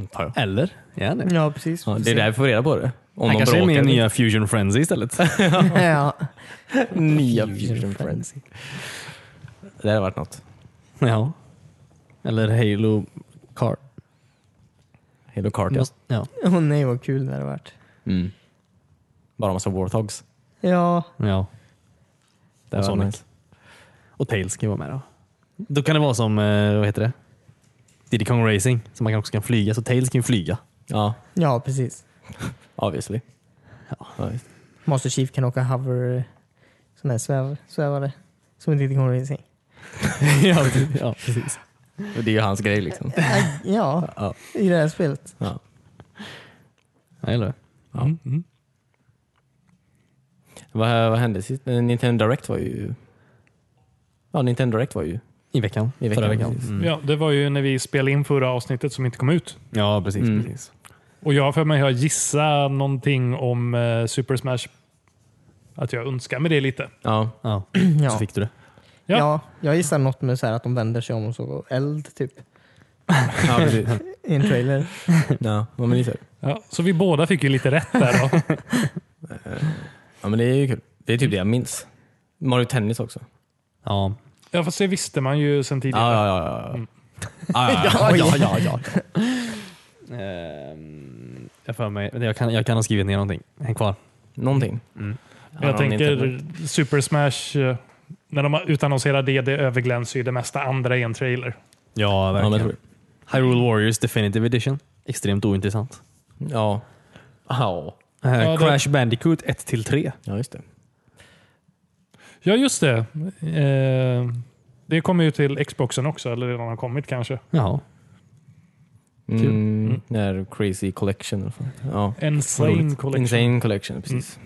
S1: Antar jag.
S2: Eller? Ja, nej.
S4: Ja, precis.
S1: Ja, det är där vi får reda på det. Om
S2: Han
S1: de
S2: kanske är med i
S1: bråkar.
S2: nya Fusion Frenzy istället.
S4: ja.
S1: nya Fusion Frenzy. Det hade varit något.
S2: ja. Eller Halo Car.
S1: Halo Kart ja.
S2: Ja. Ja.
S4: Åh nej, vad kul det hade varit.
S1: Mm. Bara massa Warthogs.
S4: Ja,
S2: ja.
S1: Det
S2: Och
S1: var
S2: Sonic.
S1: nice.
S2: Och Tails ska ju vara med då. Då kan det vara som, eh, vad heter det? Diddy Kong Racing, som man också kan flyga. Så Tails kan ju flyga.
S1: Ja,
S4: ja precis.
S1: obviously.
S2: Ja.
S1: Ja, visst.
S4: Master Chief kan åka hover, eh, sån där sväv, svävare. Som inte riktigt kommer att se.
S2: ja, precis. ja, precis.
S1: Och det är ju hans grej liksom.
S4: Ja,
S1: Ja.
S4: i det här spelet.
S1: Ja.
S2: Ja, eller hur?
S3: Mm. Mm.
S1: Vad, vad hände sist? Eh, Nintendo Direct var ju... Ja, Nintendo Direct var ju...
S2: I veckan.
S1: I veckan,
S2: Förra veckan.
S1: precis.
S2: Mm.
S3: Ja, det var ju när vi spelade in förra avsnittet som inte kom ut.
S2: Ja, precis.
S1: Mm.
S2: precis.
S3: Och jag har för mig att jag gissar någonting om eh, Super Smash. Att jag önskar mig det lite.
S1: Ja,
S2: Ja. Så
S4: Ja.
S2: fick du det.
S3: Ja.
S4: Ja. jag gissar något med så här att de vänder sig om och så eld typ.
S1: ja precis.
S4: I en trailer.
S1: ja, men det är så.
S3: Ja, så vi båda fick ju lite rätt där. Då.
S1: Ja, men det är ju kul. Det är typ det jag minns. Mario Tennis också.
S2: Ja.
S3: Ja, fast det visste man ju sedan tidigare.
S1: Ja, ja, ja. ja.
S2: Ah,
S4: Ja, ja,
S2: ja, ja. Ehm, jag för mig, jag kan, jag kan ha skrivit ner någonting. Häng kvar.
S1: Någonting.
S2: Mm.
S1: Han
S3: Jag
S1: har en
S3: tänker
S1: Nintendo.
S3: Super Smash, eh, när de utannonserar det, det överglänser ju det mesta andra i en trailer.
S2: Ja,
S1: Ja, men jag tror
S2: verkligen.
S1: det.
S2: Hyrule Warriors Definitive Edition. Extremt ointressant.
S1: Ja. Ja.
S2: Eh,
S3: det-
S2: Crash Bandicoot 1-3.
S1: ja, just det.
S3: Ja, just det. Eh, det kommer ju till Xboxen också, eller redan har kommit kanske.
S2: Jaha. Kul.
S1: Mm, det här Crazy Collection. eller vad fan. Ja. Vad
S3: Insane
S1: roligt.
S3: Collection.
S1: Insane Collection, Mm. precis.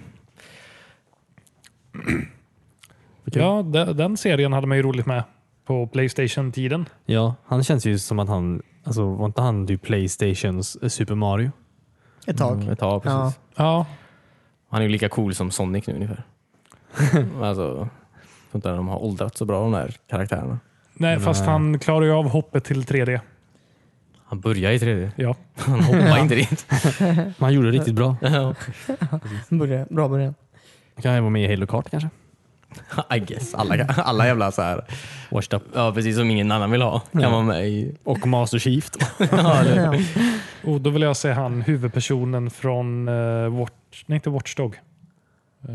S3: Ja, de- den serien hade man ju roligt med på Playstation-tiden.
S2: Ja, han känns ju som att han, alltså var inte han typ Playstations eh, Super Mario?
S4: Ett tag.
S1: Mm, ett tag, precis.
S4: Ja.
S3: Ja,
S1: Han är ju lika cool som Sonic nu ungefär. alltså, jag tror inte de har åldrats så bra de där karaktärerna.
S3: nej,
S2: Nej.
S3: fast han klarar ju av hoppet till 3D.
S1: Han börjar i 3D.
S3: Ja.
S1: Han hoppar inte dit.
S2: Men han gjorde det riktigt bra.
S1: Mm.
S4: Börja, bra början.
S2: Han kan även vara med i Halo Kart kanske?
S1: I guess. Alla, alla jävla så här.
S2: Washed up.
S1: Ja, precis som ingen annan vill ha. Kan
S2: Ja.
S1: vara med i.
S2: Och Master Chief. då.
S1: Ja, eller-
S4: Ja.
S3: Och då vill jag se han huvudpersonen från eh, Watch... Nej, inte Watchdog. Eh,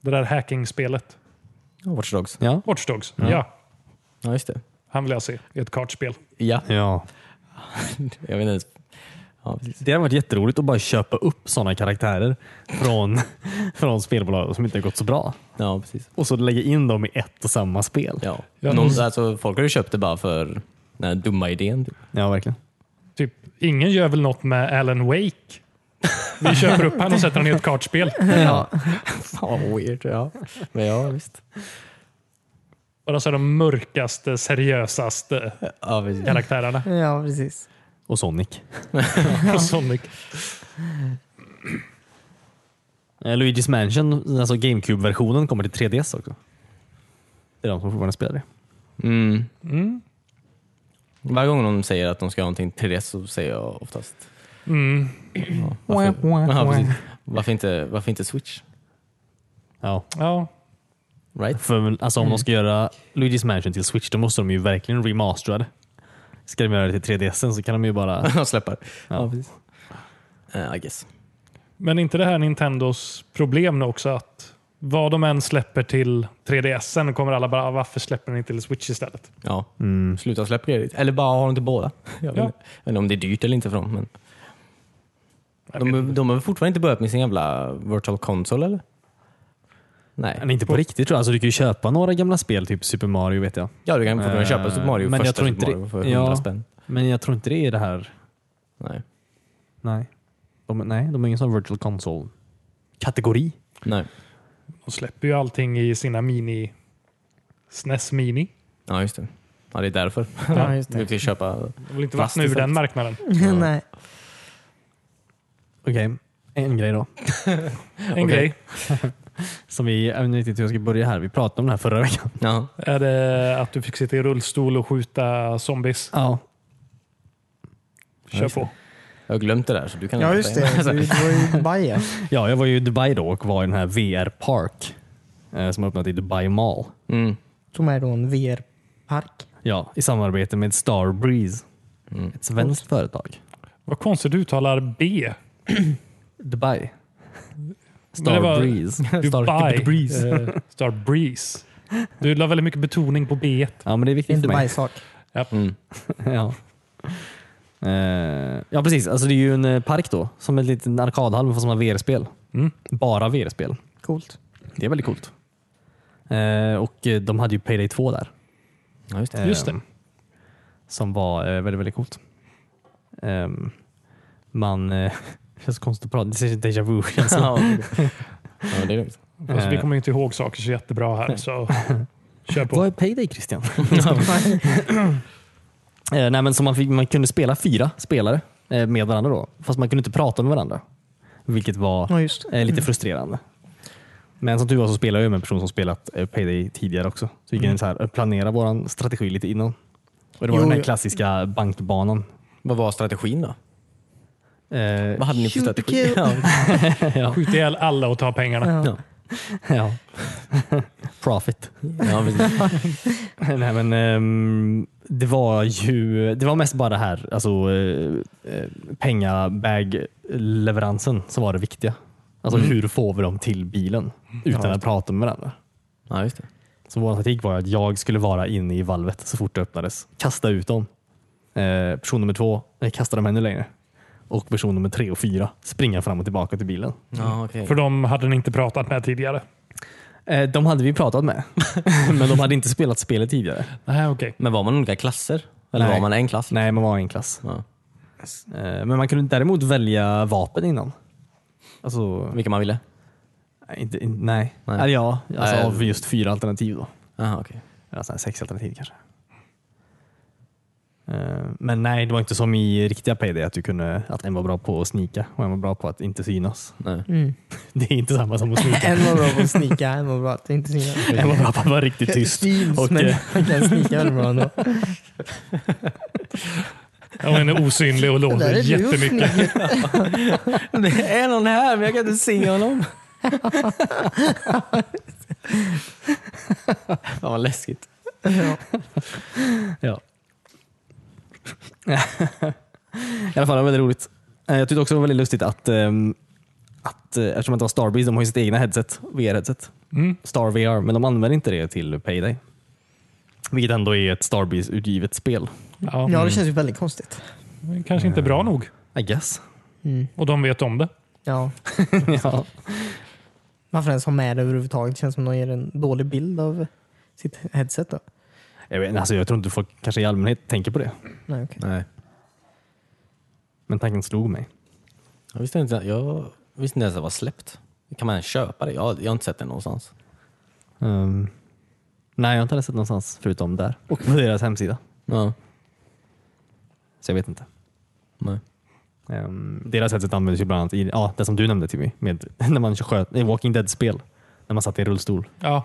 S3: det där hacking-spelet.
S1: Ja, Watch Dogs.
S2: ja.
S3: Watchdogs.
S2: Ja.
S3: Ja,
S1: Ja, just det.
S3: han vill jag se i ett kartspel.
S1: Ja,
S2: ja.
S1: jag vet inte ens. Ja, precis.
S2: Det hade varit jätteroligt att bara köpa upp sådana karaktärer från, från spelbolag som inte har gått så bra.
S1: Ja, precis.
S2: Och så lägga in dem i ett och samma spel.
S1: Ja.
S3: Ja,
S1: Någon,
S3: men-
S1: alltså, folk har ju köpt det bara för den här dumma idén. Typ.
S2: Ja, verkligen.
S3: Typ, ingen gör väl något med Alan Wake? Vi köper upp han och sätter honom i ett kartspel.
S2: Ja.
S1: Fan vad weird. Ja. Men ja, visst.
S3: Bara så här de mörkaste, seriösaste
S1: Ja, precis.
S3: karaktärerna.
S4: ja, precis.
S2: Och Sonic.
S3: på Sonic.
S2: Eh, Luigi's Mansion, alltså GameCube-versionen, kommer till 3DS också. Det är de som fortfarande spelar det.
S1: Mm.
S3: Mm.
S1: Varje gång de säger att de ska ha någonting till det så säger jag oftast
S3: Mm.
S1: ja, varför, ja, precis. varför, inte, varför inte Switch?
S2: Ja.
S3: Ja.
S1: Right?
S2: För, alltså, om de ska göra Luigi's Mansion till Switch, då måste de ju verkligen remastera det. Ska de göra det till 3DS så kan de ju bara...
S1: Jag släpper.
S2: Ja.
S1: precis. Eh, I guess.
S3: Men inte det här Nintendos problem nu också att vad de än släpper till 3DSen kommer alla bara, "Ah, varför släpper ni inte till Switch istället?
S1: Ja.
S2: Mm.
S1: Sluta släppa grejer. Eller bara ha dem till båda. Jag vet,
S3: Ja.
S1: inte. jag vet inte om det är dyrt eller inte för dem. Men
S3: Jag vet
S1: de,
S3: inte.
S1: de har fortfarande inte börjat med sin jävla virtual console eller? Nej.
S2: Men inte på riktigt tror jag. Alltså, du kan ju köpa några gamla spel, typ Super Mario vet jag.
S1: Ja, du kan fortfarande
S2: Eh,
S1: köpa Super Mario,
S2: men jag
S1: första
S2: tror inte
S1: Super
S2: det-
S1: Mario för
S2: ja.
S1: 100 spänn.
S2: Men jag tror inte det är det här
S1: Nej.
S2: Nej. De, nej, de är ingen sån virtual console-kategori.
S1: Nej.
S3: De släpper ju allting i sina mini SNES Mini.
S1: Ja, just det. Ja, det är därför.
S4: Ja, just
S1: Du
S4: det.
S1: ska köpa...
S3: De vill inte
S1: Fast
S3: vattna ur
S1: effekt.
S3: den marknaden.
S4: Nej.
S2: Okej, en grej då.
S3: En
S1: Okej.
S3: grej.
S2: Som vi, jag vet inte riktigt hur jag ska börja här. Vi pratade om det här förra veckan.
S1: Ja.
S3: Är det att du fick sitta i rullstol och skjuta zombies?
S2: Ja.
S1: Ja,
S3: Kör
S1: just
S3: på.
S1: Jag har glömt det där så du kan
S4: Ja,
S1: inte
S4: just
S1: säga.
S4: det. Du, du var ju i Dubai.
S2: ja, jag var ju i Dubai då och var i den här VR Park eh, som har öppnat i Dubai Mall.
S1: Mm.
S4: Tog med då en VR-park.
S2: Ja, i samarbete med Starbreeze.
S1: Mm.
S2: Ett svenskt företag.
S3: Vad konstigt du uttalar B.
S2: Dubai.
S3: Men det var-
S2: Starbreeze.
S3: Dubai.
S2: Breeze.
S3: Eh, Star Breeze. Du la väldigt mycket betoning på B.
S2: Ja, men det är
S4: Det är
S2: viktigt
S4: en
S2: för mig.
S4: Dubai-sak.
S1: Mm.
S2: ja. Eh, ja precis, alltså det är ju en eh, park då. Som en liten arkadhall fast som har VR-spel.
S3: Mm.
S2: Bara VR-spel.
S4: Coolt.
S2: Det är väldigt coolt. Eh, och eh, de hade ju Payday 2 där.
S1: Ja, just det.
S2: Eh,
S3: Just det.
S2: Som var eh, väldigt, väldigt coolt. Ehm, man... Eh, det känns konstigt att prata, det känns déjà vu.
S1: ja, det är lugnt.
S3: Fast vi
S2: Eh.
S3: kommer ju inte ihåg saker så jättebra här. Så kör på.
S2: Vad är Payday Christian? Eh, nej, men så man, fick, man kunde spela fyra spelare eh, med varandra då. Fast man kunde inte prata med varandra. Vilket var
S4: Ja, just det.
S2: Eh, lite frustrerande. Men som tur var så spelar jag ju med en person som spelat eh, Payday tidigare också. Så vi kan så här, eh, planera vår strategi lite innan. Och det var
S4: Mm. Jo,
S2: den här
S4: jag-
S2: klassiska bankbanan.
S1: Vad var strategin då?
S2: Eh,
S1: Vad hade ni för
S4: Shoot the
S1: strategi?
S4: kill.
S1: Ja.
S2: ja.
S4: Eh.
S3: Skjut ihjäl alla och ta pengarna.
S4: Ja.
S2: ja. Profit.
S1: Ja, precis.
S2: Nej, men, ehm, det var ju det var mest bara det här, alltså eh, eh, pengabag-leveransen som var det viktiga. Alltså hur får vi dem till bilen utan
S1: Ja.
S2: att prata med varandra?
S1: ja, just det.
S2: Så vår taktik var att jag skulle vara inne i valvet så fort det öppnades. Kasta ut dem. Eh, person nummer två, eh, kasta dem ännu längre. Och person nummer tre och fyra, springa fram och tillbaka till bilen.
S1: Ja, okej.
S3: För de hade ni inte pratat med tidigare.
S2: Eh, de hade vi pratat med, men de hade inte spelat spelet tidigare.
S3: Nej, okej.
S1: Men var man olika klasser? Eller
S2: Nej.
S1: var man en klass?
S2: Nej, man var en klass.
S1: Ja.
S2: Eh, Men man kunde däremot välja vapen innan. Alltså,
S1: Vilka man ville?
S2: nej, inte, in- nej.
S1: Nej.
S2: Eller ja, alltså
S1: Nej.
S2: av just fyra alternativ då.
S1: Jaha, okej.
S2: Eller Alltså, sex alternativ kanske. Eh, Men nej, det var inte som i riktiga PD att, du kunde, att en var bra på att snika och en var bra på att inte synas.
S1: Nej.
S4: Mm.
S2: Det är inte samma som att snika.
S4: En var bra på att snika, en var bra att inte snika.
S2: en var bra på att vara riktigt tyst.
S4: Syns,
S2: Och,
S4: men
S2: eh,
S4: man kan snika väldigt bra ändå.
S3: Okay. Den är osynlig och
S4: Där
S3: låter
S4: är du
S3: jättemycket.
S4: snygg.
S1: Det är någon här men jag kan inte se honom. Fan vad läskigt.
S4: Ja.
S2: Ja. I alla fall, det var väldigt roligt. Eh, Jag tyckte också det var väldigt lustigt att, ehm, att eh, eftersom det inte var Starbreeze, de har ju sitt egna headset, VR-headset.
S3: Mm.
S2: Star VR, men de använder inte det till Payday. Vilket ändå är ett Starbreeze-utgivet spel.
S3: Ja.
S4: ja, det känns ju väldigt konstigt.
S3: Men Kanske inte bra nog.
S2: I guess.
S4: Mm.
S3: Och de vet om det.
S4: Ja.
S2: ja.
S4: Varför ens ha med det överhuvudtaget? Det känns som de ger en dålig bild av sitt headset. Då.
S2: jag, vet, alltså, jag tror inte folk kanske i allmänhet tänker på det,
S4: Nej, okej.
S1: Nej.
S2: men tanken slog mig.
S1: Jag visste inte, jag visste inte ens att det var släppt. Kan man ens köpa det? Jag, jag har inte sett det någonstans.
S2: Ehm, nej, jag har inte heller sett någonstans förutom där och på deras hemsida.
S1: Ja.
S2: Så jag vet inte.
S1: Nej.
S2: Ehm, deras headset användes ju bland annat i ja, det som du nämnde Timmy, med, när man sköt i Walking Dead-spel. När man satt i en rullstol
S3: Ja.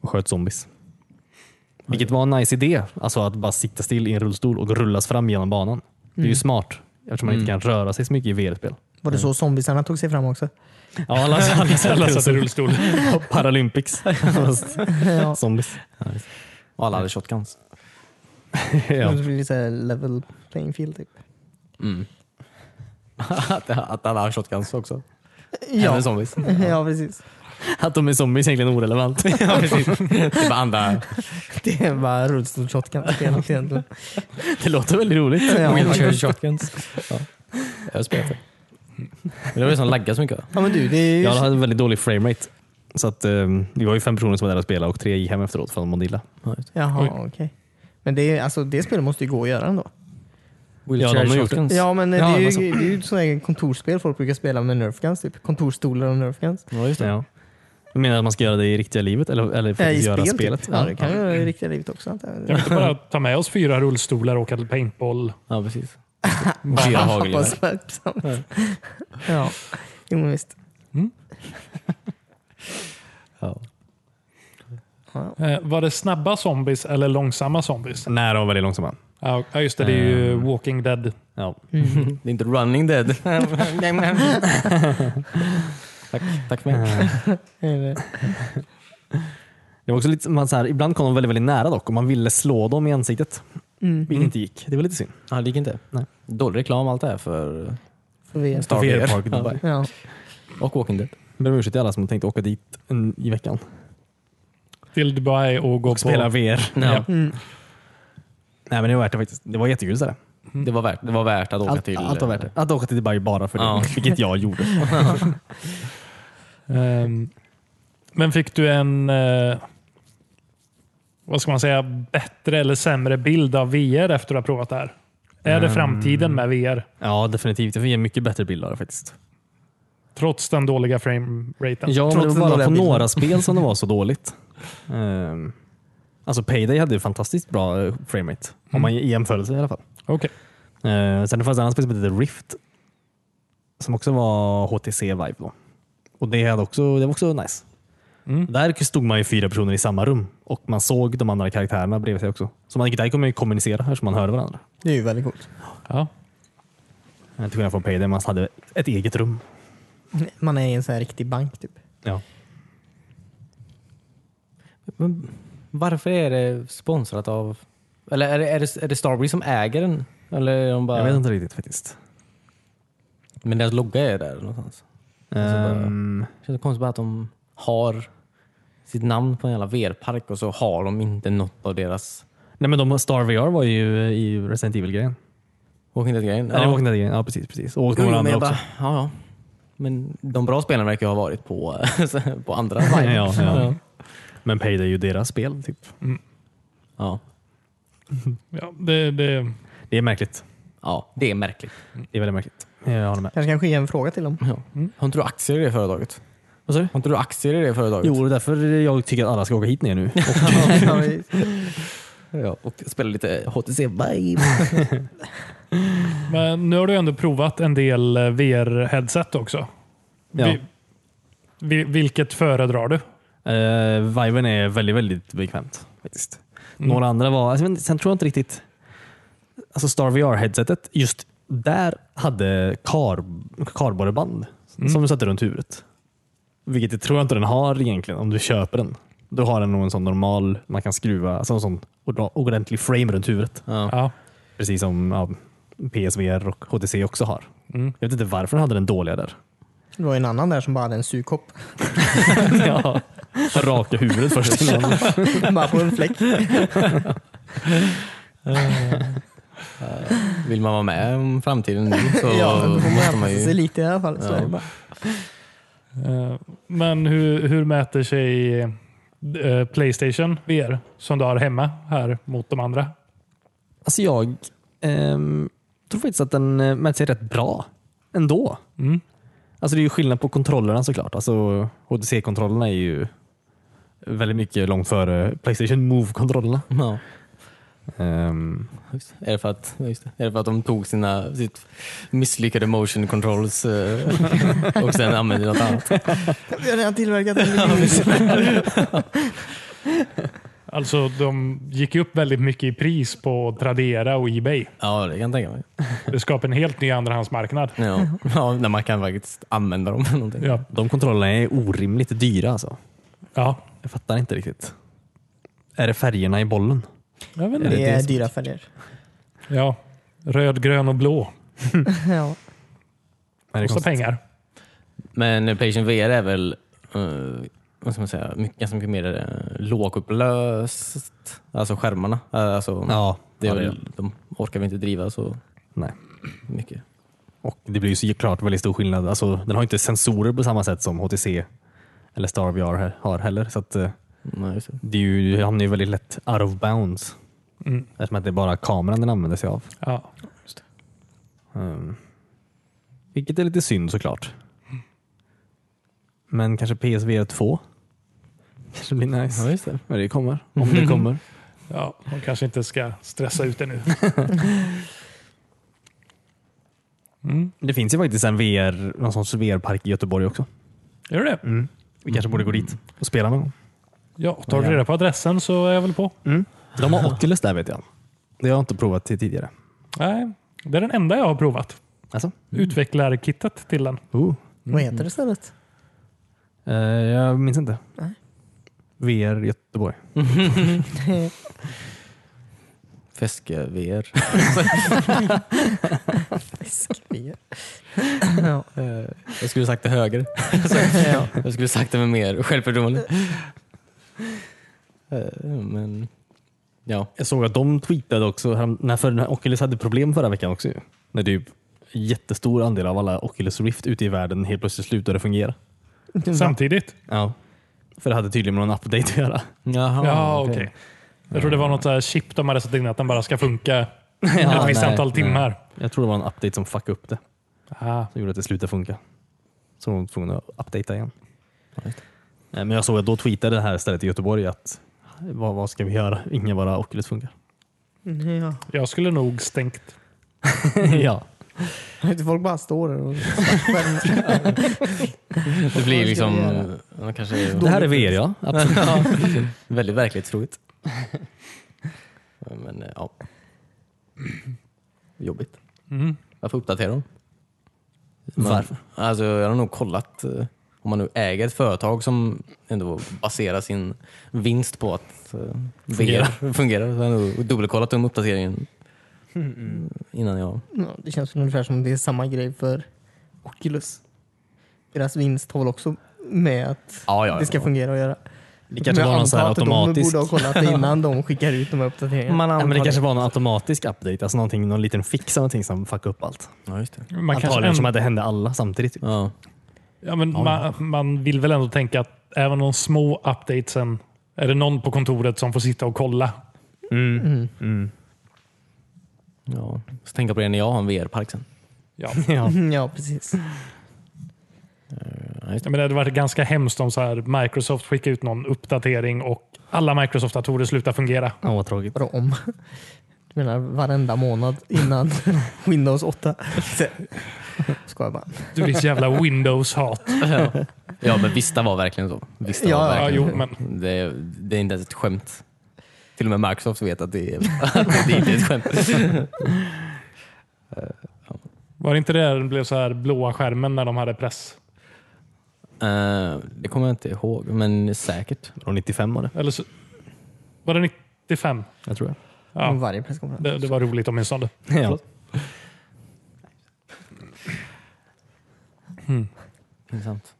S2: och sköt zombies. Vilket var en nice idé, alltså att bara sitta still i en rullstol och rullas fram genom banan. Det är ju smart eftersom man inte kan röra sig så mycket i VR-spel.
S4: Var det så zombiesarna tog sig fram också?
S2: Ja, alla, alla,
S3: Alla satt i rullstol.
S2: Paralympics. Fast
S4: ja.
S2: zombies.
S1: Och alla hade shotguns.
S4: Det
S2: ja.
S4: blir lite så här level playing field typ.
S1: Mm. att, att alla har shotguns också.
S4: Ja,
S1: Även zombies.
S4: ja precis.
S2: Att de är zombies är egentligen orelevant.
S1: ja, precis. Det är bara andra.
S4: Det är bara rullstolsshotgun-spelet egentligen.
S2: Det låter väldigt roligt.
S4: Ja.
S1: Man kör shotguns. Ja. Jag har spelat det. Men det var ju som laggar så mycket. va?
S4: Ja men du, det är ju...
S2: Jag hade en väldigt dålig framerate. Så att, ehm, vi var ju fem personer som var där och spelade och tre gick hem efteråt från Mondilla.
S4: Jaha,
S3: Oj.
S4: okej. Men det, är, alltså, det spelet måste ju gå att göra ändå.
S1: Wheelchair
S2: de har gjort det.
S1: shotguns.
S4: Ja men
S2: Ja,
S4: det, är
S2: men
S4: ju,
S2: så-
S4: det är ju sådana här kontorsspel folk brukar spela med nerfguns. Typ. Kontorsstolar och nerfguns.
S1: Ja, just det.
S2: Ja. Du menar att man ska göra det i riktiga livet eller, eller
S4: Äh,
S2: faktiskt
S4: I
S2: göra
S4: spel
S2: spelet?
S4: typ. Ja, det kan ju vara i riktiga livet också. antar jag.
S3: Jag vill inte bara ta med oss fyra rullstolar och åka till paintball.
S1: Ja, precis. Fyra hagelgevär.
S4: Hoppas verksamt. Ja, jo men visst.
S1: Ja.
S3: Eh, var det snabba zombies eller långsamma zombies?
S2: Nej, de var väldigt långsamma.
S3: Ja, ja, just det. Det är ju Walking Dead.
S2: Ja.
S1: Det är inte running dead. tack, tack för mig.
S4: Eller-
S2: Det var också lite, man så här, ibland kom de väldigt, väldigt nära dock och man ville slå dem i ansiktet.
S4: Mm.
S2: Vilket inte gick. Det var lite synd.
S1: Ja, det gick inte.
S2: Nej.
S1: Dålig reklam allt det här för
S4: För vi
S1: Star
S2: VR
S1: VR.
S2: Park Dubai.
S4: Ja.
S1: och Walking Dead.
S2: Ber om ursäkt till alla som tänkte åka dit en, i veckan.
S3: Till Dubai och gå
S2: Och spela
S3: på...
S2: VR.
S1: Ja.
S4: Mm.
S2: Nej men det var värt det faktiskt. Det var jättekul. Sådär.
S1: Det, var värt, det var värt att åka
S2: Allt,
S1: till... eh,
S2: allt var värt det. Att åka till Dubai bara för det,
S1: Ja.
S2: vilket jag gjorde.
S3: Ehm, men fick du en... Eh, vad ska man säga? Bättre eller sämre bild av VR efter att ha provat det här? Är det framtiden med VR?
S2: Ja, definitivt. Jag fick en mycket bättre bild av det faktiskt.
S3: Trots den dåliga frameraten?
S2: Ja, men
S4: Trots
S2: det
S4: den
S2: var bara
S4: dåliga
S2: på
S4: bilden.
S2: några spel som det var så dåligt. Ehm, alltså Payday hade ju fantastiskt bra eh, framerate. Om man i jämförelse i alla fall.
S3: Okej.
S2: Eh, sen det fanns ett annat spel som hette Rift. Som också var HTC Vive. Då. Och det, hade också, det var också nice.
S3: Mm.
S2: Där stod man ju fyra personer i samma rum och man såg de andra karaktärerna bredvid sig också. Så man, där kunde man ju kommunicera eftersom man hörde varandra.
S4: Det är ju väldigt coolt.
S3: Ja.
S2: Eh, Till skillnad från Payday, man hade ett eget rum.
S4: Man är i en sån här riktig bank typ.
S2: Ja.
S1: Men varför är det sponsrat av... Eller är det, är det, är det Starbreeze som äger den? Eller är de bara...
S2: Jag vet inte riktigt faktiskt.
S1: Men deras logga är där någonstans. bara-
S2: Ehm,
S1: Det känns konstigt bara att de har sitt namn på en jävla VR-park och så har de inte något av deras
S2: nej men de, Star VR var ju i Resident Evil-grejen.
S1: Walking Dead-grejen.
S2: Eller Walking Dead-grejen. Ja precis. precis. Och
S1: Jo,
S2: några
S1: jo, men
S2: andra
S1: jag
S2: också.
S1: bara, ja, ja. Men de bra spelarna verkar ju ha varit på, på andra sidan.
S2: ja, ja. Men Payday är ju deras spel. Typ.
S1: Ja.
S3: Ja, det, det,
S2: Det är märkligt.
S1: ja, det är märkligt.
S2: Det är väldigt märkligt. Jag håller med.
S4: Kanske kan skicka en fråga till dem.
S1: Ja. Har inte du aktier i det företaget?
S2: Vad sa du?
S1: Har inte du aktier i det företaget?
S2: Jo, det är därför jag tycker att alla ska åka hit ner nu.
S4: Ja, vi-
S1: Ja, och spela lite HTC Vive.
S3: men nu har du ändå provat en del VR-headset också.
S2: Ja.
S3: Vi- vi- vilket föredrar du?
S2: Uh, viven är väldigt, väldigt bekvämt. Faktiskt. Några andra var... Alltså, men sen tror jag inte riktigt... Alltså Star VR-headsetet, just där hade kar, kardborreband som du satte runt huvudet. Vilket jag tror inte den har egentligen om du köper den. Då har den nog en sån normal, man kan skruva, alltså en sån ordna- ordentlig frame runt huvudet.
S3: Ja.
S2: Precis som ja, PSVR och HTC också har.
S3: Mm.
S2: Jag vet inte varför den hade den dåliga där.
S4: Det var ju en annan där som bara hade en sugkopp.
S2: ja. Raka huvudet först innan.
S4: bara på en fläck.
S1: Vill man vara med om framtiden nu så
S4: ja, men då får man
S1: måste
S4: anpassa
S1: man
S4: sig
S1: ju...
S4: lite i alla fall. Så
S1: Ja.
S4: är det bara.
S3: Eh, Men hur, hur mäter sig eh, Playstation VR som du har hemma här mot de andra?
S2: Alltså jag ehm, tror faktiskt att den eh, mäter sig rätt bra ändå.
S3: Mm.
S2: Alltså det är ju skillnad på kontrollerna såklart. Alltså HTC-kontrollerna är ju väldigt mycket långt före Playstation Move-kontrollerna.
S1: Ja,
S2: Ehm,
S1: just. det. Är, det för att, ja, just det. är det för att de tog sina sitt misslyckade motion controls eh, och sen använde något annat?
S4: Vi har redan tillverkat en miljon.
S3: Alltså de gick ju upp väldigt mycket i pris på Tradera och Ebay.
S1: Ja, det kan jag tänka mig.
S3: Det skapar en helt ny andrahandsmarknad.
S1: Ja, ja när man kan faktiskt använda dem. eller Någonting.
S3: Ja.
S2: de kontrollerna är orimligt dyra alltså.
S3: ja.
S2: Jag fattar inte riktigt. Är det färgerna i bollen?
S3: Jag vet inte.
S4: Det är
S2: det som-
S4: dyra färger.
S3: Ja. Röd, grön och blå.
S4: Ja.
S2: Är det
S3: Kostar
S2: konstigt?
S3: pengar.
S1: Men eh, Playstation VR är väl eh, vad ska man säga, mycket, ganska mycket mer eh, lågupplöst. Alltså skärmarna. Eh, alltså,
S2: Ja,
S1: det är
S2: ja, det
S1: väl, de orkar väl inte driva så
S2: Nej.
S1: mycket.
S2: Och det blir ju såklart väldigt stor skillnad. Alltså, den har ju inte sensorer på samma sätt som HTC eller Star VR he- har heller. Så att, eh,
S1: Nej, just det.
S2: det är ju, det hamnar ju väldigt lätt out of bounds.
S3: Mm.
S2: Eftersom att det är bara kameran den använder sig av.
S3: Ja.
S2: Ehm, vilket är lite synd såklart. Men kanske PSVR 2? Kanske blir
S1: Ja,
S2: nice.
S1: just det.
S2: När det kommer. Om det kommer.
S3: ja. De kanske inte ska stressa ut det nu. Mm.
S2: Det finns ju faktiskt en VR, någon sorts VR-park i Göteborg också.
S3: Gör det?
S2: Vi kanske borde gå dit och spela någon gång.
S3: Ja, tar du reda på adressen så är jag väl på.
S2: De har Oculus där vet jag. Det har jag inte provat till tidigare.
S3: Nej, det är den enda jag har provat.
S2: Alltså?
S3: Utvecklarkittet Mm. till den.
S2: Oh.
S4: Vad heter det stället?
S2: Eh, jag minns inte.
S4: Nej.
S2: VR Göteborg.
S1: Feske VR.
S4: Fiskfia. ja.
S1: Eh, Jag skulle sagt det högre.
S4: ja.
S1: Jag skulle sagt det med mer självförtroende. Eh, Men ja,
S2: Jag såg att de tweetade också, härom- när, för, när Oculus hade problem förra veckan också. ju. När typ jättestor andel av alla Oculus Rift ute i världen helt plötsligt slutade fungera.
S3: Samtidigt.
S2: Ja. För det hade tydligen med någon update att göra.
S1: Jaha,
S3: Ja, Ah, okej. Jag tror det var något så här chip de hade satt in att den bara ska funka ett visst
S2: nej,
S3: antal
S2: nej.
S3: timmar.
S2: Jag tror det var en update som fuckade upp det.
S3: Ah.
S2: Som gjorde att det slutade funka. Så de var tvungna att updatea igen. Eh, Men jag såg att då tweetade det här stället i Göteborg att vad, vad ska vi göra? Inga bara Oculus funkar.
S4: ja.
S3: Jag skulle nog stängt.
S2: ja.
S4: Folk bara står där och skärmar.
S1: Det blir
S4: Vad ska
S1: liksom...
S4: vi göra?
S1: ja, Kanske,
S2: Det här är VR ja. Absolut.
S1: Ja, väldigt verklighetstroget. Men eh, ja. Jobbigt.
S3: Mm.
S1: Varför uppdaterar de?
S2: Varför?
S1: Alltså, jag har nog kollat eh, om man nu äger ett företag som ändå baserar sin vinst på att eh, VR fungerar. Så har jag nog dubbelkollat om uppdateringen innan jag...
S4: Ja, det känns väl ungefär som det är samma grej för Oculus. Deras vinst har väl också med att
S1: Ja, ja, ja.
S4: det ska fungera att göra.
S2: Det kanske var någon så här
S4: de
S2: automatisk...
S4: borde ha kollat det innan de skickar ut de här uppdateringarna.
S2: Man ja, men det
S4: antar
S2: kanske var någon automatisk update, alltså någonting, någon liten fix eller någonting som fuckade upp allt.
S1: Ja, just det.
S3: Man, kanske
S2: Antagligen som
S3: ändå,
S2: att det hände alla samtidigt. typ.
S1: Ja.
S3: ja, men man, man vill väl ändå tänka att även de små updatesen, är det någon på kontoret som får sitta och kolla?
S2: Mm. Mm.
S1: Ja. Så tänka på det när jag har en VR-park sen.
S3: Ja.
S2: Ja.
S4: Mm, Ja, precis.
S1: Ja, just det.
S3: Ja, men det hade varit ganska hemskt om så här Microsoft skickade ut någon uppdatering och alla Microsoft-datorer slutar fungera.
S2: ja, vad tråkigt.
S4: Vadå om? Du menar varenda månad innan Windows 8? Skojar bara.
S3: Du är så jävla Windows-hat.
S1: ja, men Vista var verkligen så. Vista
S4: Ja,
S1: var
S4: ja,
S3: Ja,
S1: verkligen
S3: jo,
S1: så.
S3: men
S1: Det, det är inte ens ett skämt. Till och med Microsoft vet att det, är, att det inte är ett skämt.
S3: var det inte det där det blev så här blåa skärmen när de hade press?
S1: Eh, det kommer jag inte ihåg, men säkert.
S2: Och 95 var det,
S3: Eller så, var det 95?
S2: jag tror
S4: Om
S3: Ja,
S4: varje presskonferens.
S3: det, det var roligt åtminstone.
S2: jag. Ja.
S1: Hmm. Pinsamt.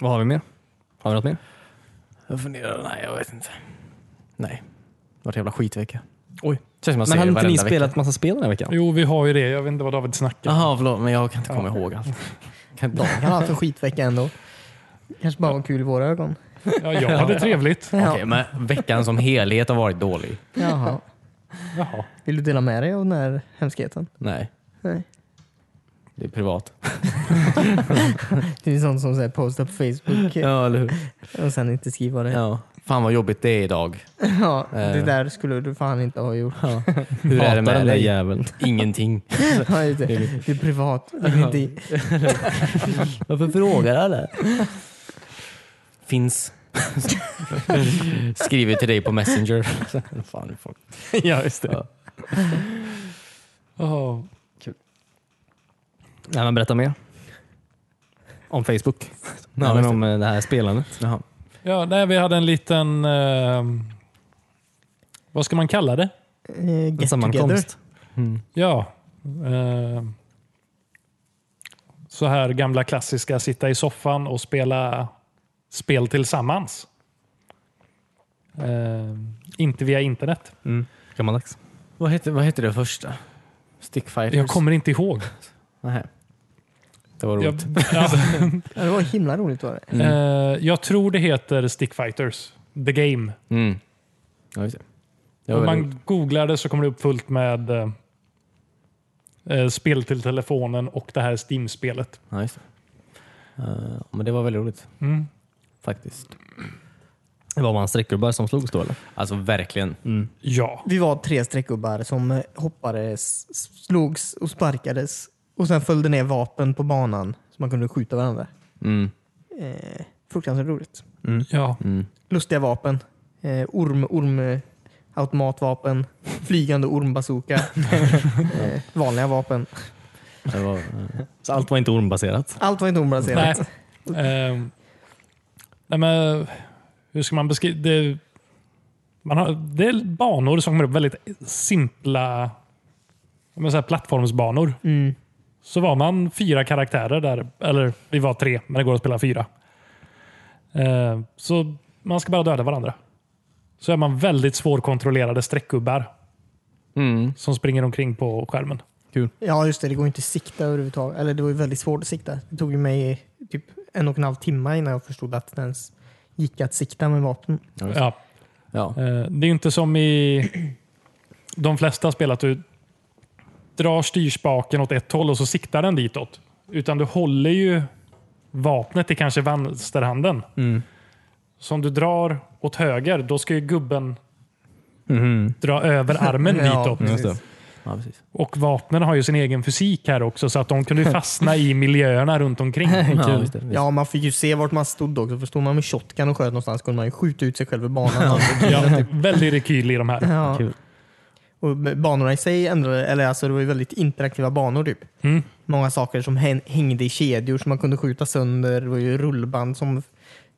S2: Vad har vi mer? Har vi något mer?
S1: Jag funderar, nej jag vet inte. Nej. Det var en jävla skitvecka. Oj. Känns som jag
S2: Men
S1: säger
S2: hade inte ni
S1: varenda
S2: spelat
S1: vecka.
S2: massa spel den här veckan?
S3: Jo, vi har ju det. Jag vet inte vad David snackar om.
S1: Jaha, förlåt. Men jag kan inte komma ihåg allt. Kan inte...
S4: Han har haft en skitvecka ändå. Kanske bara var kul i våra ögon.
S3: Ja, jag hade trevligt.
S4: Ja.
S1: Okej, men veckan som helhet har varit dålig.
S4: Jaha.
S3: Jaha.
S4: Vill du dela med dig av den här hemskheten?
S1: Nej,
S4: Nej.
S1: det är privat.
S4: Det är sånt som så här, postar på Facebook
S1: Ja, eller hur?
S4: och sen inte skriver det. Ja.
S1: Ja. Fan vad jobbigt det är idag.
S2: Eh.
S4: det där skulle du fan inte ha gjort.
S1: Ja. Hur är det
S2: Hatar
S1: med
S2: den där
S1: dig?
S2: jäveln.
S1: Ingenting.
S4: Ja, just det. det är privat. Det är inte i-
S1: Varför frågar alla? Finns. Skriver till dig på Messenger. Fan, folk.
S2: ja, just det.
S1: Ja.
S3: Jaha.
S2: Nej, men berätta mer. Om Facebook.
S1: just
S2: Nej, men
S1: det.
S2: om eh, det här spelandet.
S1: Jaha.
S3: Ja, nej, vi hade en liten... Eh, vad ska man kalla det?
S4: eh,
S2: En
S4: get together.
S2: sammankomst.
S3: Ja. Eh, så här gamla klassiska, sitta i soffan och spela spel tillsammans. Eh, inte via internet.
S2: Mm. Gammaldags.
S1: Vad hette, vad hette det första? Stickfighters?
S3: Jag kommer inte ihåg.
S1: Nähä. Det var
S3: Jag,
S1: roligt. Mm.
S3: ja,
S4: Ja, det var himla roligt var det.
S3: eh, jag tror det heter Stickfighters. The Game.
S1: Mm. Ja, just det. det var
S3: Om
S1: väldigt roligt.
S3: man googlar det så kommer det upp fullt med eh, eh, spel till telefonen och det här Steam-spelet.
S1: Ja, just det. Eh, men det var väldigt roligt
S3: Mm.
S1: faktiskt.
S2: Det var man streckgubbar som slogs då eller?
S1: Alltså verkligen.
S3: Ja.
S4: Vi var tre streckgubbar som eh, hoppades, s- slogs och sparkades och sen följde ner vapen på banan så man kunde skjuta varandra.
S1: Mm.
S4: Eh, fruktansvärt roligt.
S3: ja.
S1: Mm.
S4: Lustiga vapen. Eh, orm, orm, eh, automatvapen, flygande ormbazooka, eh, vanliga vapen.
S1: Det var, eh,
S2: Så allt var inte ormbaserat.
S4: Allt var inte
S3: Nej.
S4: ormbaserat.
S3: Ehm, nej men, hur ska man beskriva det? Man har, det är banor som kommer upp, väldigt simpla jag menar så här, plattformsbanor.
S4: Mm.
S3: Så var man fyra karaktärer där, eller vi var tre, men det går att spela fyra. Ehm, så man ska bara döda varandra. Så är man väldigt svårkontrollerade streckgubbar
S1: mm.
S3: som springer omkring på skärmen.
S4: Ja just det, det går ju inte att sikta överhuvudtaget. Eller det var ju väldigt svårt att sikta. Det tog ju mig typ en och en halv timme innan jag förstod att det ens gick att sikta med vapen.
S3: Ja.
S1: Ja.
S3: Eh, Det är ju inte som i de flesta spel att du drar styrspaken åt ett håll och så siktar den ditåt. Utan du håller ju vapnet i kanske vänsterhanden. Så om du drar åt höger, då ska ju gubben
S1: Mm-hmm.
S3: dra över armen
S4: Ja,
S3: ditåt.
S4: precis.
S1: ja, precis.
S3: Och vapnen har ju sin egen fysik här också, så att de kunde ju fastna i miljöerna runt omkring.
S1: Ja, just det. Just.
S4: Ja, man fick ju se vart man stod också. För stod man med shotgun och sköt någonstans kunde man ju skjuta ut sig själv i banan.
S3: Ja, väldigt rekyl i de här.
S4: ja.
S2: Kul.
S4: Och banorna i sig ändrade, eller alltså det var ju väldigt interaktiva banor typ.
S3: Mm.
S4: Många saker som häng- hängde i kedjor som man kunde skjuta sönder. Det var ju rullband som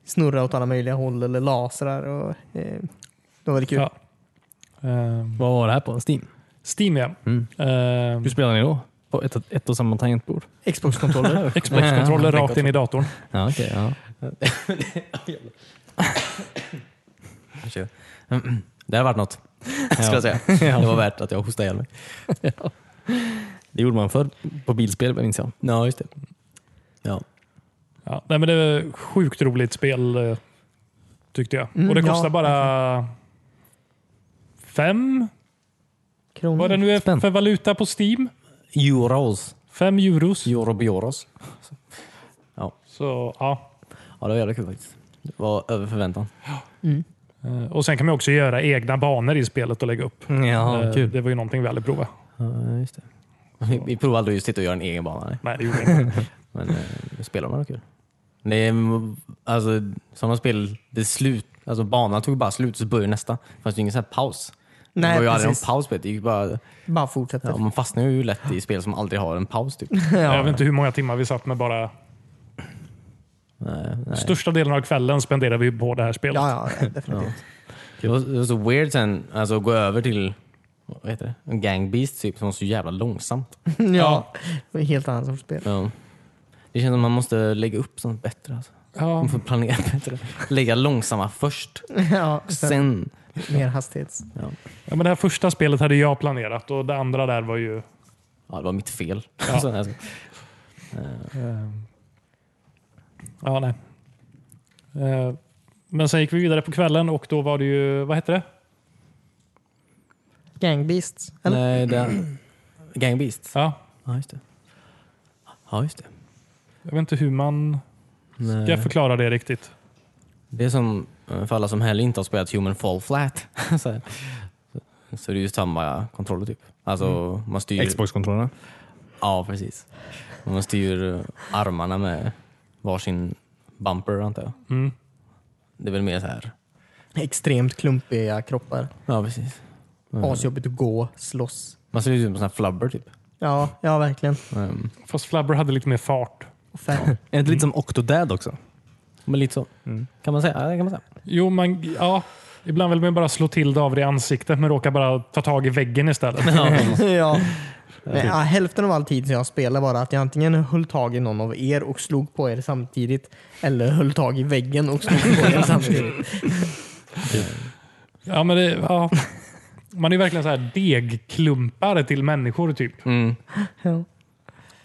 S4: snurrade åt alla möjliga håll eller lasrar. Och, eh, det var väldigt kul.
S3: Ja. Ehm,
S2: Vad var det här på? Steam?
S3: Steam ja.
S2: Mm.
S3: Ehm,
S2: Hur spelar ni då? På ett, ett och samma tangentbord?
S4: Xbox-kontroller.
S3: Xbox-kontroller rakt in i datorn.
S2: Ja, okej. ja.
S1: Ursäkta. Mm. Det har varit något, skulle jag säga. Det var värt att jag hostade ihjäl mig.
S2: Det gjorde man förr på bilspel minns jag.
S1: Ja, just det. Ja.
S3: Ja, nej, men det är ett sjukt roligt spel eh, tyckte jag.
S4: Mm,
S3: och det
S4: ja.
S3: kostar bara fem,
S4: Kronor.
S3: vad det nu är
S2: Spänn.
S3: för valuta på Steam.
S1: Euros.
S3: Fem euros.
S1: Eurobioros.
S3: Så, ja.
S1: Ja, det var jävligt kul faktiskt. Det var över förväntan.
S3: Eh, Och Sen kan man också göra egna banor i spelet och lägga upp. Eh,
S2: Ja, kul.
S3: Det var ju någonting vi aldrig provade.
S1: Ja, just det. Vi, vi provade aldrig just sitta och göra en egen bana. Nej.
S3: Nej, det gjorde jag inte.
S1: Men eh, spelar man var kul. Det är, mm, alltså, sådana spel, det är slut. Alltså, banan tog bara slut så började nästa. Det fanns ju ingen sån här paus. det
S4: Nej,
S1: var ju aldrig
S4: precis.
S1: någon paus. vet du. Det gick bara,
S4: Bara fortsätter.
S1: ja, man fastnar ju lätt i spel som aldrig har en paus. Typ.
S3: Jag vet inte hur många timmar vi satt med bara...
S1: Nej, nej.
S3: Största delen av kvällen spenderade vi på det här spelet.
S4: Ja, ja, definitivt.
S1: Det var, det var så weird sen, alltså att gå över till vad heter det? En gang beast typ, som var så jävla långsamt.
S4: Ja. ja. Det var en helt annan sorts spel.
S1: Ja. Det känns som man måste lägga upp sånt bättre. Alltså.
S3: Ja.
S1: Man får planera bättre. Lägga långsamma först,
S4: ja, sen,
S1: sen...
S4: mer hastighets.
S3: Ja, men det här första spelet hade jag planerat och det andra där var ju...
S1: Ja, det var mitt fel.
S3: Ja.
S1: Så, alltså.
S3: Ehm. Ja, nej. Eh, Men sen gick vi vidare på kvällen och då var det ju... Vad hette det?
S4: Gangbeasts? Eller?
S1: Nej, det... Gang beast.
S3: Ja,
S1: Ja, just det. Ja, just det.
S3: jag vet inte hur man
S1: Nej.
S3: ska förklara det riktigt.
S1: Det är som eh, för alla som heller inte har spelat Human Fall Flat. så, här. så det är ju samma kontroller typ. Alltså
S3: Mm.
S1: man styr...
S2: Xbox-kontrollerna.
S1: Ja, precis. Man styr eh, armarna med varsin bumper antar jag.
S3: Mm.
S1: Det är väl mer så här.
S4: Extremt klumpiga kroppar.
S1: Ja, precis. Mm.
S4: Asjobbigt att gå, slåss.
S1: Man ser ut som en sån här flubber typ.
S4: Ja, ja verkligen.
S1: Mm.
S3: Fast Flubber hade lite mer fart.
S4: Och färg.
S2: Är det inte lite som Octodad också?
S1: Men lite så. Kan man säga? Ja, det kan man säga.
S3: Jo, man... Ja. Ibland vill man bara slå till det av det i ansiktet men råkar bara ta tag i väggen istället.
S4: ja. Men, ja, hälften av all tid som jag spelar bara att jag antingen höll tag i någon av er och slog på er samtidigt eller höll tag i väggen och slog på er samtidigt.
S3: Ja, men det, ja. Man är verkligen så här degklumpar till människor typ.
S1: Mm.
S4: Ja.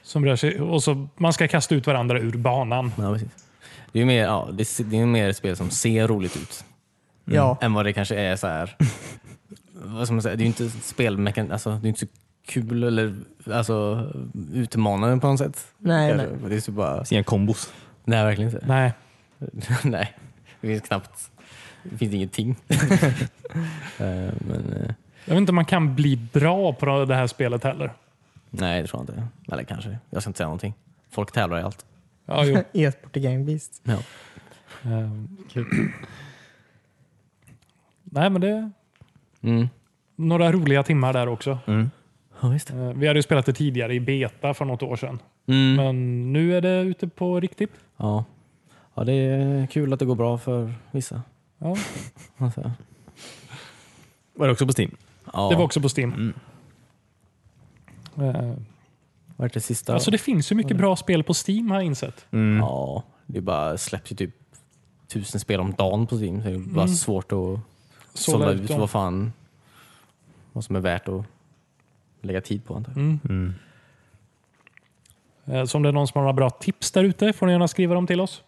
S3: Som rör sig, och så, man ska kasta ut varandra ur banan.
S1: Ja, precis. Det är ju mer, ja, det ser- det är ju mer ett spel som ser roligt ut
S4: Ja,
S1: än vad det kanske är så här. vad ska man säga? Det är ju inte spelmekan... Alltså, det är inte så kul eller alltså, utmanande på något sätt.
S4: nej, nej.
S1: Kanske. Det är så bara...
S2: Inga kombos.
S1: Nej, verkligen inte.
S3: Nej.
S1: Nej, det finns knappt. Det finns ingenting. Eh, Men eh,
S3: Jag vet inte om man kan bli bra på det här spelet heller.
S1: nej, det tror jag inte. Eller kanske. Jag ska inte säga någonting. Folk tävlar i allt.
S3: Ja,
S4: Mm.
S3: jo.
S4: E-sport i Gangbeasts.
S1: Ja.
S3: Ehm. Nej, men det är
S1: Mm.
S3: några roliga timmar där också.
S1: Ja, visst.
S3: Eh, Vi hade ju spelat det tidigare i beta för något år sedan.
S1: Mm.
S3: Men nu är det ute på riktigt.
S1: Ja. ja, det är kul att det går bra för vissa.
S3: Ja.
S1: Alltså,
S2: Var det också på Steam?
S1: Ja, Mm.
S3: Det var också på Steam. Eh,
S1: vart det Mm. sista.
S3: Alltså det finns ju
S1: Mm.
S3: mycket bra spel på Steam har jag insett.
S1: Ja, det är bara släpps ju typ tusen spel om dagen på Steam. Så det är bara svårt att sålla ut
S3: dem.
S1: vad fan vad som är värt att lägga tid på. Antar jag.
S3: Eh, Så om det är någon som har några bra tips där ute får ni gärna skriva dem till oss.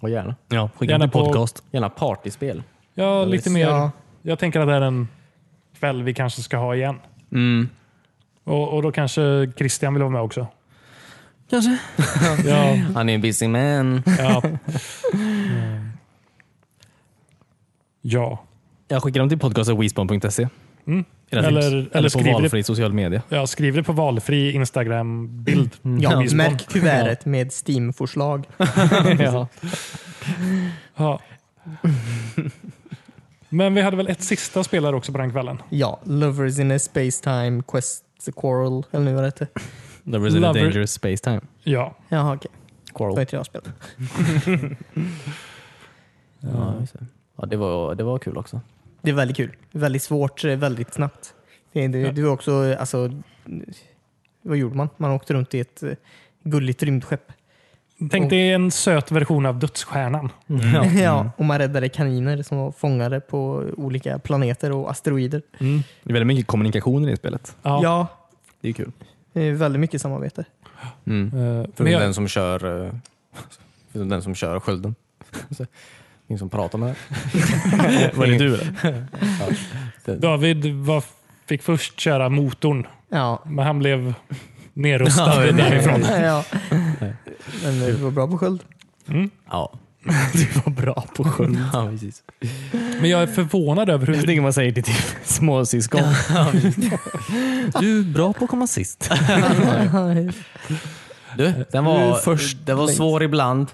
S1: Och gärna.
S2: Ja, skicka
S3: Gärna
S2: en
S3: på-
S2: podcast.
S1: Gärna partyspel.
S3: Ja, lite mer.
S4: Ja,
S3: Jag tänker att det är en kväll vi kanske ska ha igen.
S1: Mm.
S3: Och, och då kanske Christian vill vara med också.
S2: Kanske.
S3: Ja,
S1: Han är en busy man.
S3: ja. Mm. ja.
S2: Jag skickar dem till podcasten wespawn.se.
S3: Mm.
S2: Era
S3: Eller-
S2: tips.
S3: eller
S2: på
S3: skriv det-
S2: valfri social media.
S3: Jag skriver det på valfri Instagram-bild.
S4: Mm. ja,
S3: Lisbon.
S4: märk kuvertet med Steam-förslag.
S3: Ja. Men vi hade väl ett sista spel här också på den kvällen?
S4: Ja, Lovers in a Space Time Quest the Quarrel, eller nu vad det hette.
S2: Lovers in a
S3: Lover-
S2: dangerous space time.
S3: Ja.
S4: Jaha, okej. Då har
S1: Quarrel.
S4: inte jag spelat.
S1: Ja, just det. ja, det, var, det var kul också.
S4: Det är väldigt kul. Väldigt svårt, eh, väldigt snabbt. Det, det, det var också, eh, alltså, eh, vad gjorde man? Man åkte runt i ett eh, gulligt rymdskepp.
S3: Tänk dig en söt version av Dödsstjärnan.
S2: Ja.
S3: Mm.
S4: ja, och man räddade kaniner som var fångade på olika planeter och asteroider.
S2: Det är väldigt mycket kommunikation i det spelet.
S3: Ja.
S4: Ja,
S2: Det är kul.
S4: eh, väldigt mycket samarbete.
S1: Mm.
S3: Eh, men
S1: Förutom
S3: jag,
S1: den som kör eh, förutom den som kör skölden. Så, Ingen som pratar med
S2: Var det du eller?
S1: den.
S3: David var, fick först köra motorn,
S4: Ja.
S3: men han blev nerröstad
S1: Ja, det-
S3: därifrån.
S4: ja. Men du var bra på sköld.
S3: Mm.
S1: Ja.
S2: Du var bra på sköld.
S1: ja, precis.
S3: Men jag är förvånad över
S2: Jag
S3: hur...
S2: tänker man säger det till småsyskon. du är bra på att komma sist.
S1: Du, den
S2: Du är
S1: var,
S2: först
S1: den var
S2: längst.
S1: svår ibland.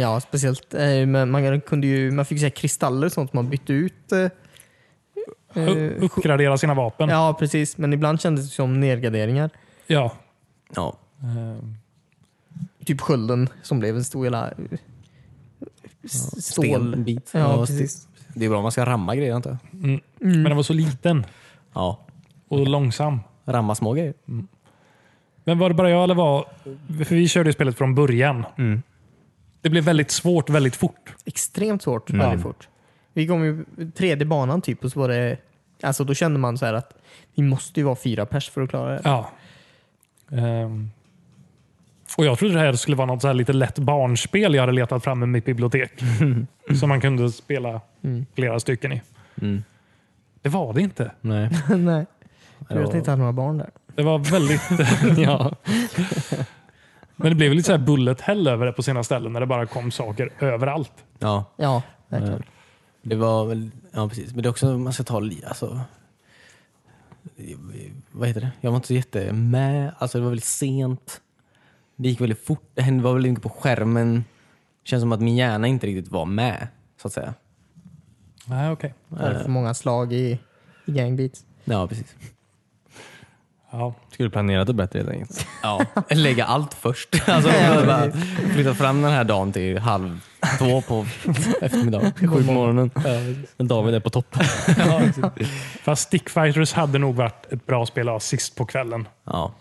S4: Ja, speciellt. eh, men Man, kunde ju, man fick så här kristaller och sånt man bytte ut. eh,
S3: u-
S4: eh,
S3: Uppgradera sina vapen. Ja.
S4: Ja, precis. Men ibland kändes det som nedgraderingar.
S1: Ja.
S3: Eh,
S4: Typ skölden som blev en stor jävla eh, s- stål.
S1: Stenbit.
S4: Ja,
S1: Ja,
S4: precis.
S1: Det är bra om man ska ramma grejer antar jag.
S3: Mm. Men den var så liten
S1: Ja.
S3: och långsam.
S1: Ramma små grejer.
S3: Men var det bara jag eller var... För vi körde ju spelet från början.
S2: Mm.
S3: Det blev väldigt svårt väldigt fort.
S4: Extremt svårt.
S2: Mm.
S4: Väldigt fort. Vi kom ju tredje banan typ och så var det... Alltså då kände man så här att vi måste ju vara fyra pers för att klara det.
S3: Ja. Ehm. Och Jag trodde det här skulle vara något så här lite lätt barnspel jag hade letat fram i mitt bibliotek. som man kunde spela flera stycken i.
S1: Mm.
S3: Det var det inte.
S2: Nej.
S4: Nej. Jag vet inte hade några barn där.
S3: Det var väldigt...
S2: Ja.
S3: Men det blev lite så här bullet hell över det på sina ställen när det bara kom saker överallt.
S1: Ja.
S4: Ja, verkligen.
S1: Det var väl, ja precis. Men det är också, man ska ta li- alltså, vad heter det? Jag var inte så jätte med. Alltså det var väldigt sent. Det gick väldigt fort. Det hände- var väldigt mycket på skärmen. Det känns som att min hjärna inte riktigt var med, så att säga.
S3: Nej, okej.
S4: Det var för många slag i, i gangbeats.
S1: Ja, precis.
S3: Ja.
S2: Skulle planerat det bättre helt enkelt.
S1: Ja. Lägga allt först. Alltså, bara- bara flytta fram den här dagen till halv två på eftermiddagen.
S2: Sju på morgonen. Men David är på topp.
S3: Fast Stickfighters hade nog varit ett bra spel att ha sist på kvällen.
S1: Ja.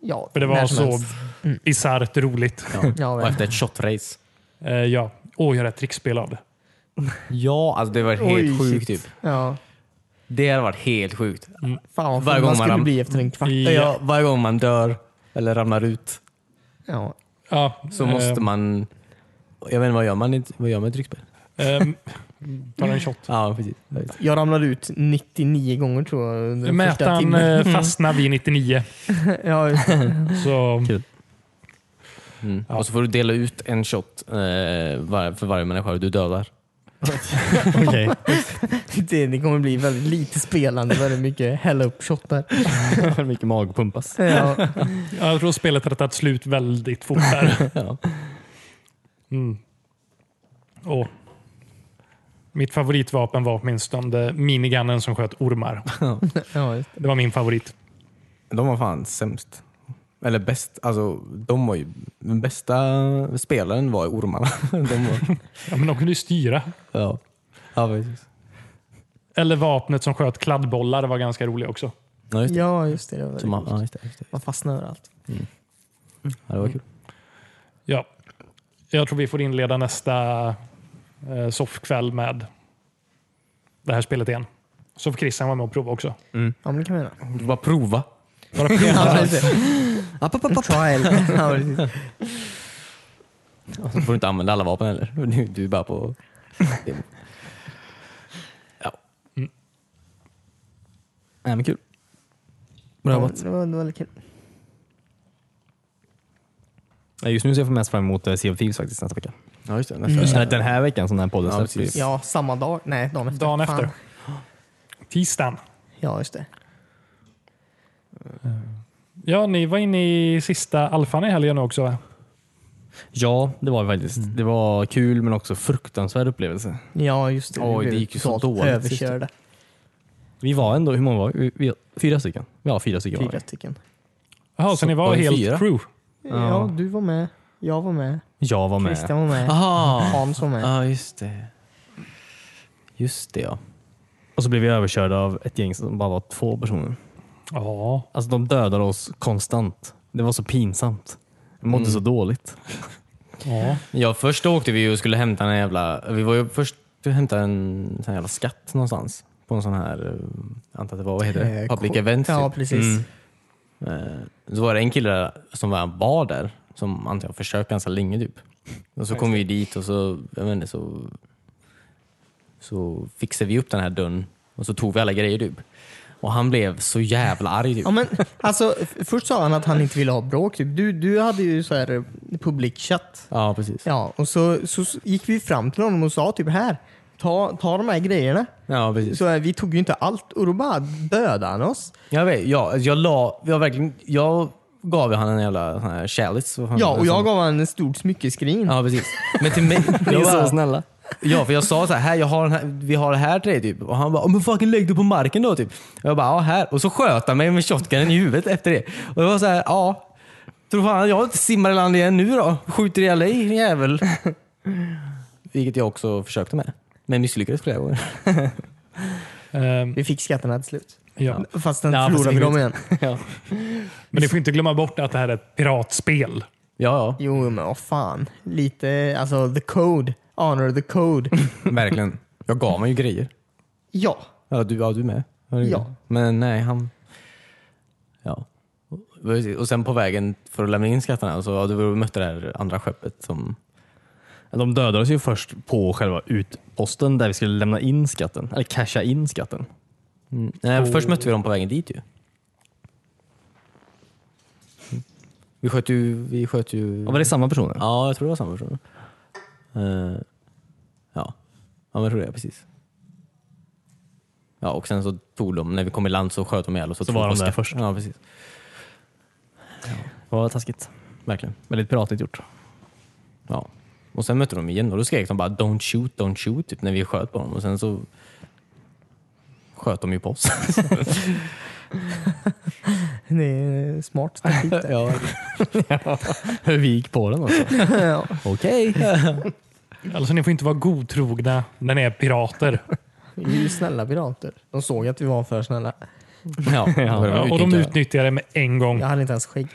S4: Ja,
S3: För det var
S4: när som
S3: så
S4: helst.
S3: bisarrt roligt.
S1: ja.
S4: Ja,
S1: Och efter ett shotrace.
S3: Eh, ja. Och göra ett trickspel av det.
S1: Ja, alltså det var
S4: Oj,
S1: helt sjukt.
S4: shit.
S1: Typ.
S4: Ja.
S1: Det hade varit helt sjukt.
S4: Fan vad
S1: Varje
S4: full
S1: gång
S4: man
S1: man
S4: skulle
S1: ram-
S4: bli efter en kvart.
S3: I-
S1: Ja, varje gång man dör eller ramlar ut
S4: Ja.
S3: Ja,
S1: så måste man... Jag vet inte, vad gör man i ett- vad gör man i ett tryckspel?
S3: tar Eh, ehm, en shot.
S1: Ja, precis.
S4: Jag ramlade ut 99 gånger tror jag under den första
S3: Mätaren
S4: timmen.
S3: eh, fastnar vid 99.
S4: Ja, just det.
S3: Så,
S1: Mm. Och så får du dela ut en shot eh, var, för varje människa du dödar.
S2: Okej.
S4: det, det kommer bli väldigt lite spelande, väldigt mycket hälla upp shottar.
S2: mycket magpumpas.
S4: Ja.
S3: jag tror spelet hade tagit slut väldigt fort där.
S1: Ja.
S3: Mm. Och, mitt favoritvapen var åtminstone minigunnen som sköt ormar.
S4: Ja, just det.
S3: Det var min favorit.
S1: De var fan sämst. Eller bäst. Alltså, de var ju... Den bästa spelaren var ju ormarna. De var,
S3: Ja, men de kunde ju styra.
S1: ja. Ja, precis.
S3: Eller vapnet som sköt kladdbollar var ganska rolig också.
S1: Ja, just det.
S4: Ja, just det. det var väldigt
S1: Så man,
S4: coolt.
S1: ja, just det, just det.
S4: man fastnar överallt.
S1: Ja, det var kul.
S3: Ja. Jag tror vi får inleda nästa eh, soffkväll med det här spelet igen. Så får Christian vara med och prova också.
S4: Ja, men det kan vi göra.
S1: Mm. Du bara prova.
S3: Bara prova.
S4: Ja, just det. Trial. Ja, precis.
S1: Och så får du inte använda alla vapen heller. Du, du är bara på... Ja.
S2: Nej, men kul. Bra
S4: Ja,
S2: jobbat.
S4: det var det var väldigt kul.
S2: Nej, Just nu ser jag mest fram emot eh, Sea of Thieves faktiskt nästa vecka.
S1: Ja, just det.
S2: Eller Den här veckan som den här podden
S1: Mm. Ja,
S2: släpps.
S1: precis.
S4: Ja, samma dag. Nej, dagen efter.
S3: Dagen
S4: Fan.
S3: efter. Tisdagen.
S4: Ja, just det.
S3: Ja, ni var inne i sista alfan i helgen också va?
S2: Ja, det var väldigt.
S1: Det var kul men också fruktansvärd upplevelse.
S4: Ja, just det. Vi
S1: Oj, det
S4: blev
S1: gick ju så
S4: totalt
S1: dåligt sist.
S4: Överkörda.
S2: Vi var ändå, hur många var vi? vi? Fyra stycken? Ja, fyra stycken var
S4: Fyra
S2: vi.
S4: stycken.
S3: Jaha, så
S1: Så
S3: ni var
S1: var det
S3: helt
S1: fyra?
S3: crew?
S4: Ja. du var med. Jag var med.
S2: Jag var med.
S4: Christian var med.
S1: Aha.
S4: Hans var med.
S1: Ja, just det. Just det ja.
S2: Och så blev vi överkörda av ett gäng som bara var två personer.
S3: Ja.
S2: Alltså de dödade oss konstant. Det var så pinsamt. Jag mådde
S1: Mm.
S2: så dåligt.
S3: ja.
S1: Ja, först då åkte vi ju och skulle hämta en jävla... Vi var ju först och hämtade en sån jävla skatt någonstans. På en sån här, eh, jag antar att det var, vad heter det?
S4: Eh,
S1: Public
S4: ko-
S1: event.
S4: Ja,
S1: typ.
S4: precis.
S2: Mm.
S1: Eh, Så var det en kille där som var- var där, som antar jag försökte ganska länge typ. Och så kom vi dit och så, jag vet inte, så, så fixade vi upp den här dörren och så tog vi alla grejer typ. Och han blev så jävla arg typ.
S4: Ja, men, alltså, f- först sa han att han inte ville ha bråk. Typ. Du, du hade ju så här eh, publikchatt.
S1: Ja, precis.
S4: Ja, och så, så s- gick vi fram till honom och sa typ här, ta, ta de här grejerna.
S1: Ja, precis.
S4: Så eh, vi tog ju inte allt och då bara dödade han oss.
S1: Jag vet, jag, jag la, jag verkligen, jag gav ju han en jävla sån här chalice. vad fan
S4: Ja,
S1: det
S4: och
S1: som-
S4: jag gav honom en stort smyckeskrin.
S1: Ja, precis. Men till mig...
S2: Ni är
S1: jag
S2: så
S1: bara-
S2: snälla.
S1: Ja, för jag sa så här, här, jag har den här vi har det här till dig typ. Och han bara, men fucking lägg dig på marken då typ. Och jag bara, ja här. Och så sköt han mig med shotgunen i huvudet efter det. Och jag var så här, ja. Tror fan jag inte simmar i land igen nu då? Skjuter ihjäl dig din jävel. Vilket jag också försökte med. Men misslyckades flera gånger.
S3: Ehm,
S4: Vi fick skatterna till slut.
S3: ja.
S4: Fast den
S2: Ja, fast
S4: förlorade
S2: det
S4: vi
S2: gick
S4: dem igen.
S3: Men ni får inte glömma bort att det här är ett piratspel.
S1: Ja,
S4: Jo, men vad fan. Lite, alltså the code. Honor the code.
S1: ja. Verkligen. Jag gav mig ju grejer.
S4: ja.
S1: Ja, du, ja, du med. Herregud.
S4: Ja.
S1: Men nej, han... Ja. Och- Och sen på vägen för att lämna in skatterna så ja, du mötte det här andra skeppet som...
S2: De dödade oss ju först på själva utposten där vi skulle lämna in skatten. Eller casha in skatten.
S1: Mm. Nej, Först mötte vi dem på vägen dit ju. Mm. Vi sköt ju... Vi sköt ju...
S2: Ja, var det samma personer?
S1: Ja, jag tror det var samma person. Eh, ja. ja, men jag tror det. Precis. Ja, och sen så tog de, när vi kom i land så sköt de ihjäl oss. och
S2: Så
S1: tog
S2: var de
S1: oss
S2: där
S1: skatt.
S2: först.
S1: Ja, precis.
S2: Vad taskigt.
S1: Verkligen.
S2: Väldigt piratigt gjort.
S1: Ja. Och sen mötte de igen och då skrek de bara “Don't shoot, don't shoot” typ, när vi sköt på dem. Och sen så sköt de ju på oss.
S4: Det är smart taktik. där.
S1: ja.
S2: Hur vi gick på den alltså. också.
S4: ja.
S1: Okej.
S3: Alltså ni får inte vara godtrogna när ni är pirater.
S4: Vi är ju snälla pirater. De såg att vi var för snälla.
S1: ja,
S3: Ja, och de utnyttjar det med en gång.
S4: Jag hade inte ens skägg.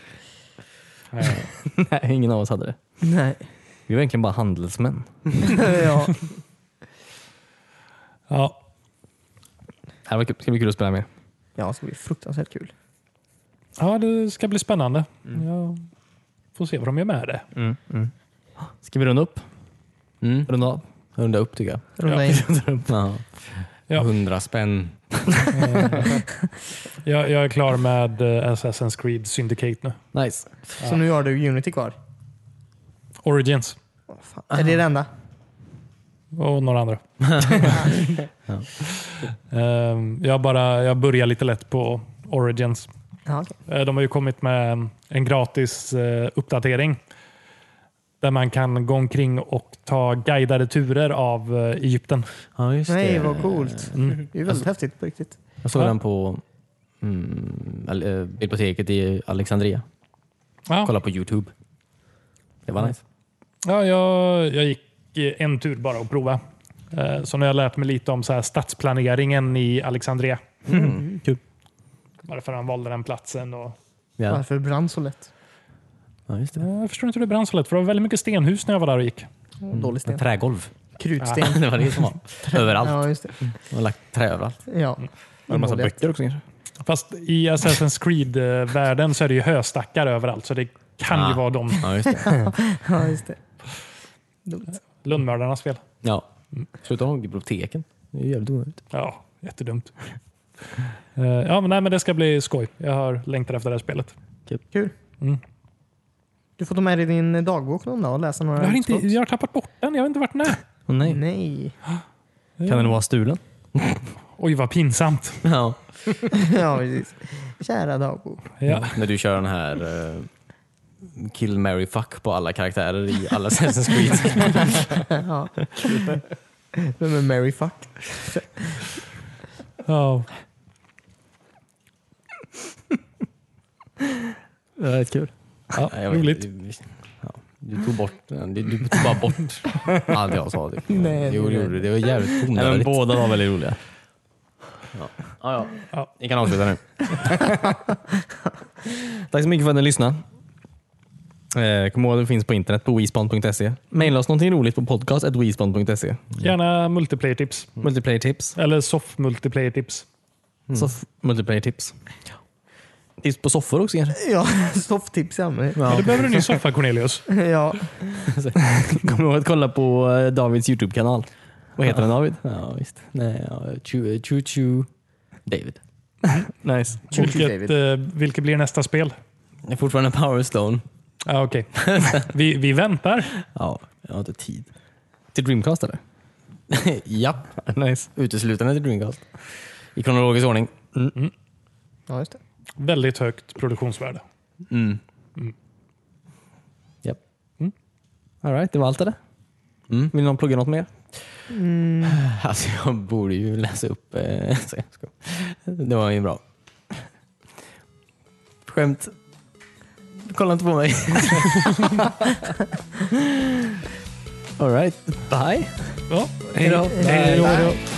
S3: Eh,
S2: Nej, ingen av oss hade det.
S4: Nej.
S2: Vi var egentligen bara handelsmän.
S4: ja.
S3: Ja.
S2: Det här var kul. ska bli kul att spela med.
S4: ja, det ska bli fruktansvärt kul.
S3: ja, det ska bli spännande. Jag får se vad de gör med det.
S2: Mm. Ska vi runda upp?
S1: Mm.
S2: Runda av?
S1: Runda upp tycker jag.
S4: Runda in.
S1: Ja.
S3: Ja.
S1: Hundra spänn.
S3: Jag, jag är klar med eh, Assassin's Creed Syndicate nu.
S2: Nice.
S4: Så nu har du Unity kvar.
S3: Origins
S4: Åh, fan. Är det det enda?
S3: och några andra. Ehm, jag, bara, jag börjar lite lätt på Origins.
S4: Ja, okej.
S3: Eh, De har ju kommit med en- en gratis eh, uppdatering där man kan gå omkring och ta guidade turer av eh, Egypten. Mm.
S1: Ja, just
S4: Nej,
S1: det.
S4: vad coolt. Det är ju väldigt häftigt på riktigt.
S1: Jag såg
S3: Ja.
S1: den på mm, al- eh, biblioteket i Alexandria.
S3: Ja,
S1: Kolla på Youtube. Det var nice.
S3: ja jag, jag gick eh, en tur bara och prova. Eh, Så nu har jag lärt mig lite om så här stadsplaneringen i Alexandria. Mm.
S2: Kul.
S3: Varför han valde den platsen. Och...
S1: Ja.
S4: Varför brann så lätt?
S1: Ja, just det.
S3: Eh, Jag förstår inte hur det brann så lätt, för det var väldigt mycket stenhus när jag var där och gick.
S4: Dålig sten.
S1: Trägolv.
S4: Krutsten.
S1: Det var det som var. Överallt.
S4: Ja, just det.
S1: De har lagt trä överallt.
S4: Ja.
S2: Var det massa
S4: Inmålet.
S2: böcker också kanske?
S3: Fast i Assassin's Creed-världen så är det ju höstackar överallt, så det kan ju
S1: Ah.
S3: vara de
S1: Ja, just det.
S4: Ja, just det. Dumt.
S3: lönnmördarnas fel.
S1: Ja. Sluta ha biblioteken. Det är ju jävligt onödigt.
S3: Ja, jättedumt. Eh, ja, men, nej, men det ska bli skoj. Jag har längtat efter det här spelet.
S4: Kul.
S3: Mm.
S4: Du får ta med dig din dagbok någon dag och läsa några
S3: Jag har, inte,
S4: utskott.
S3: jag har tappat bort den. Jag har inte varit med.
S2: Åh, nej.
S4: Nej.
S2: Kan den vara stulen?
S3: Oj, vad pinsamt.
S1: Ja.
S4: ja, precis. Kära dagbok.
S1: Mm.
S3: Ja.
S1: När du kör den här eh, kill, marry, fuck på alla karaktärer i alla Assassin's Creed.
S4: ja. Vem är Mary Fuck?
S3: Ja.
S2: Det är rätt kul.
S3: Ja,
S1: Nej, jag vet
S3: roligt.
S1: inte. Vi- ja. Du tog bort den. Du, du tog bara bort allt jag sa. Typ.
S4: Nej,
S1: jo, det
S4: nej.
S1: gjorde du. Det var jävligt
S2: Nej, men
S1: onödigt.
S2: båda var väldigt roliga.
S1: Ja, ja.
S3: Ja.
S1: Ni kan avsluta nu.
S2: Tack så mycket för att ni lyssnade. Eh, kom ihåg att vi finns på internet på wespond.se. Maila oss någonting roligt på podcast.wespond.se.
S3: Gärna multiplayer-tips.
S2: Multiplayer tips.
S3: Eller soft multiplayer-tips.
S2: Soff- multiplayer tips. Mm. Tips på soffor också kanske?
S4: Ja, softtips i allmänhet.
S3: Ja. Det behöver du en ny soffa Cornelius.
S4: Ja,
S2: Kom ihåg att kolla på eh, Davids YouTube-kanal. Vad heter den David?
S1: Ja, visst. Nej, ja. Choo, choo, choo. David.
S2: Nice.
S4: Tjur, tjur,
S3: Vilket, eh, vilket blir nästa spel?
S1: Det är fortfarande Power Stone.
S3: Ah, Okej. Vi, vi väntar.
S1: Ja, jag har inte tid.
S2: Till Dreamcast eller?
S1: Japp,
S2: Nice.
S1: uteslutande till Dreamcast. I kronologisk ordning.
S4: ja just det.
S3: Väldigt högt produktionsvärde.
S1: Mm.
S2: All right, det var allt eller?
S1: Mm.
S2: Vill någon plugga något mer?
S1: Alltså jag borde ju läsa upp... Eh, så jag skojar. det var ju bra. Skämt. Kolla inte på mig.
S2: All right. Bye.
S3: Ja.
S2: Hej då.
S3: Hej då.
S4: Nej.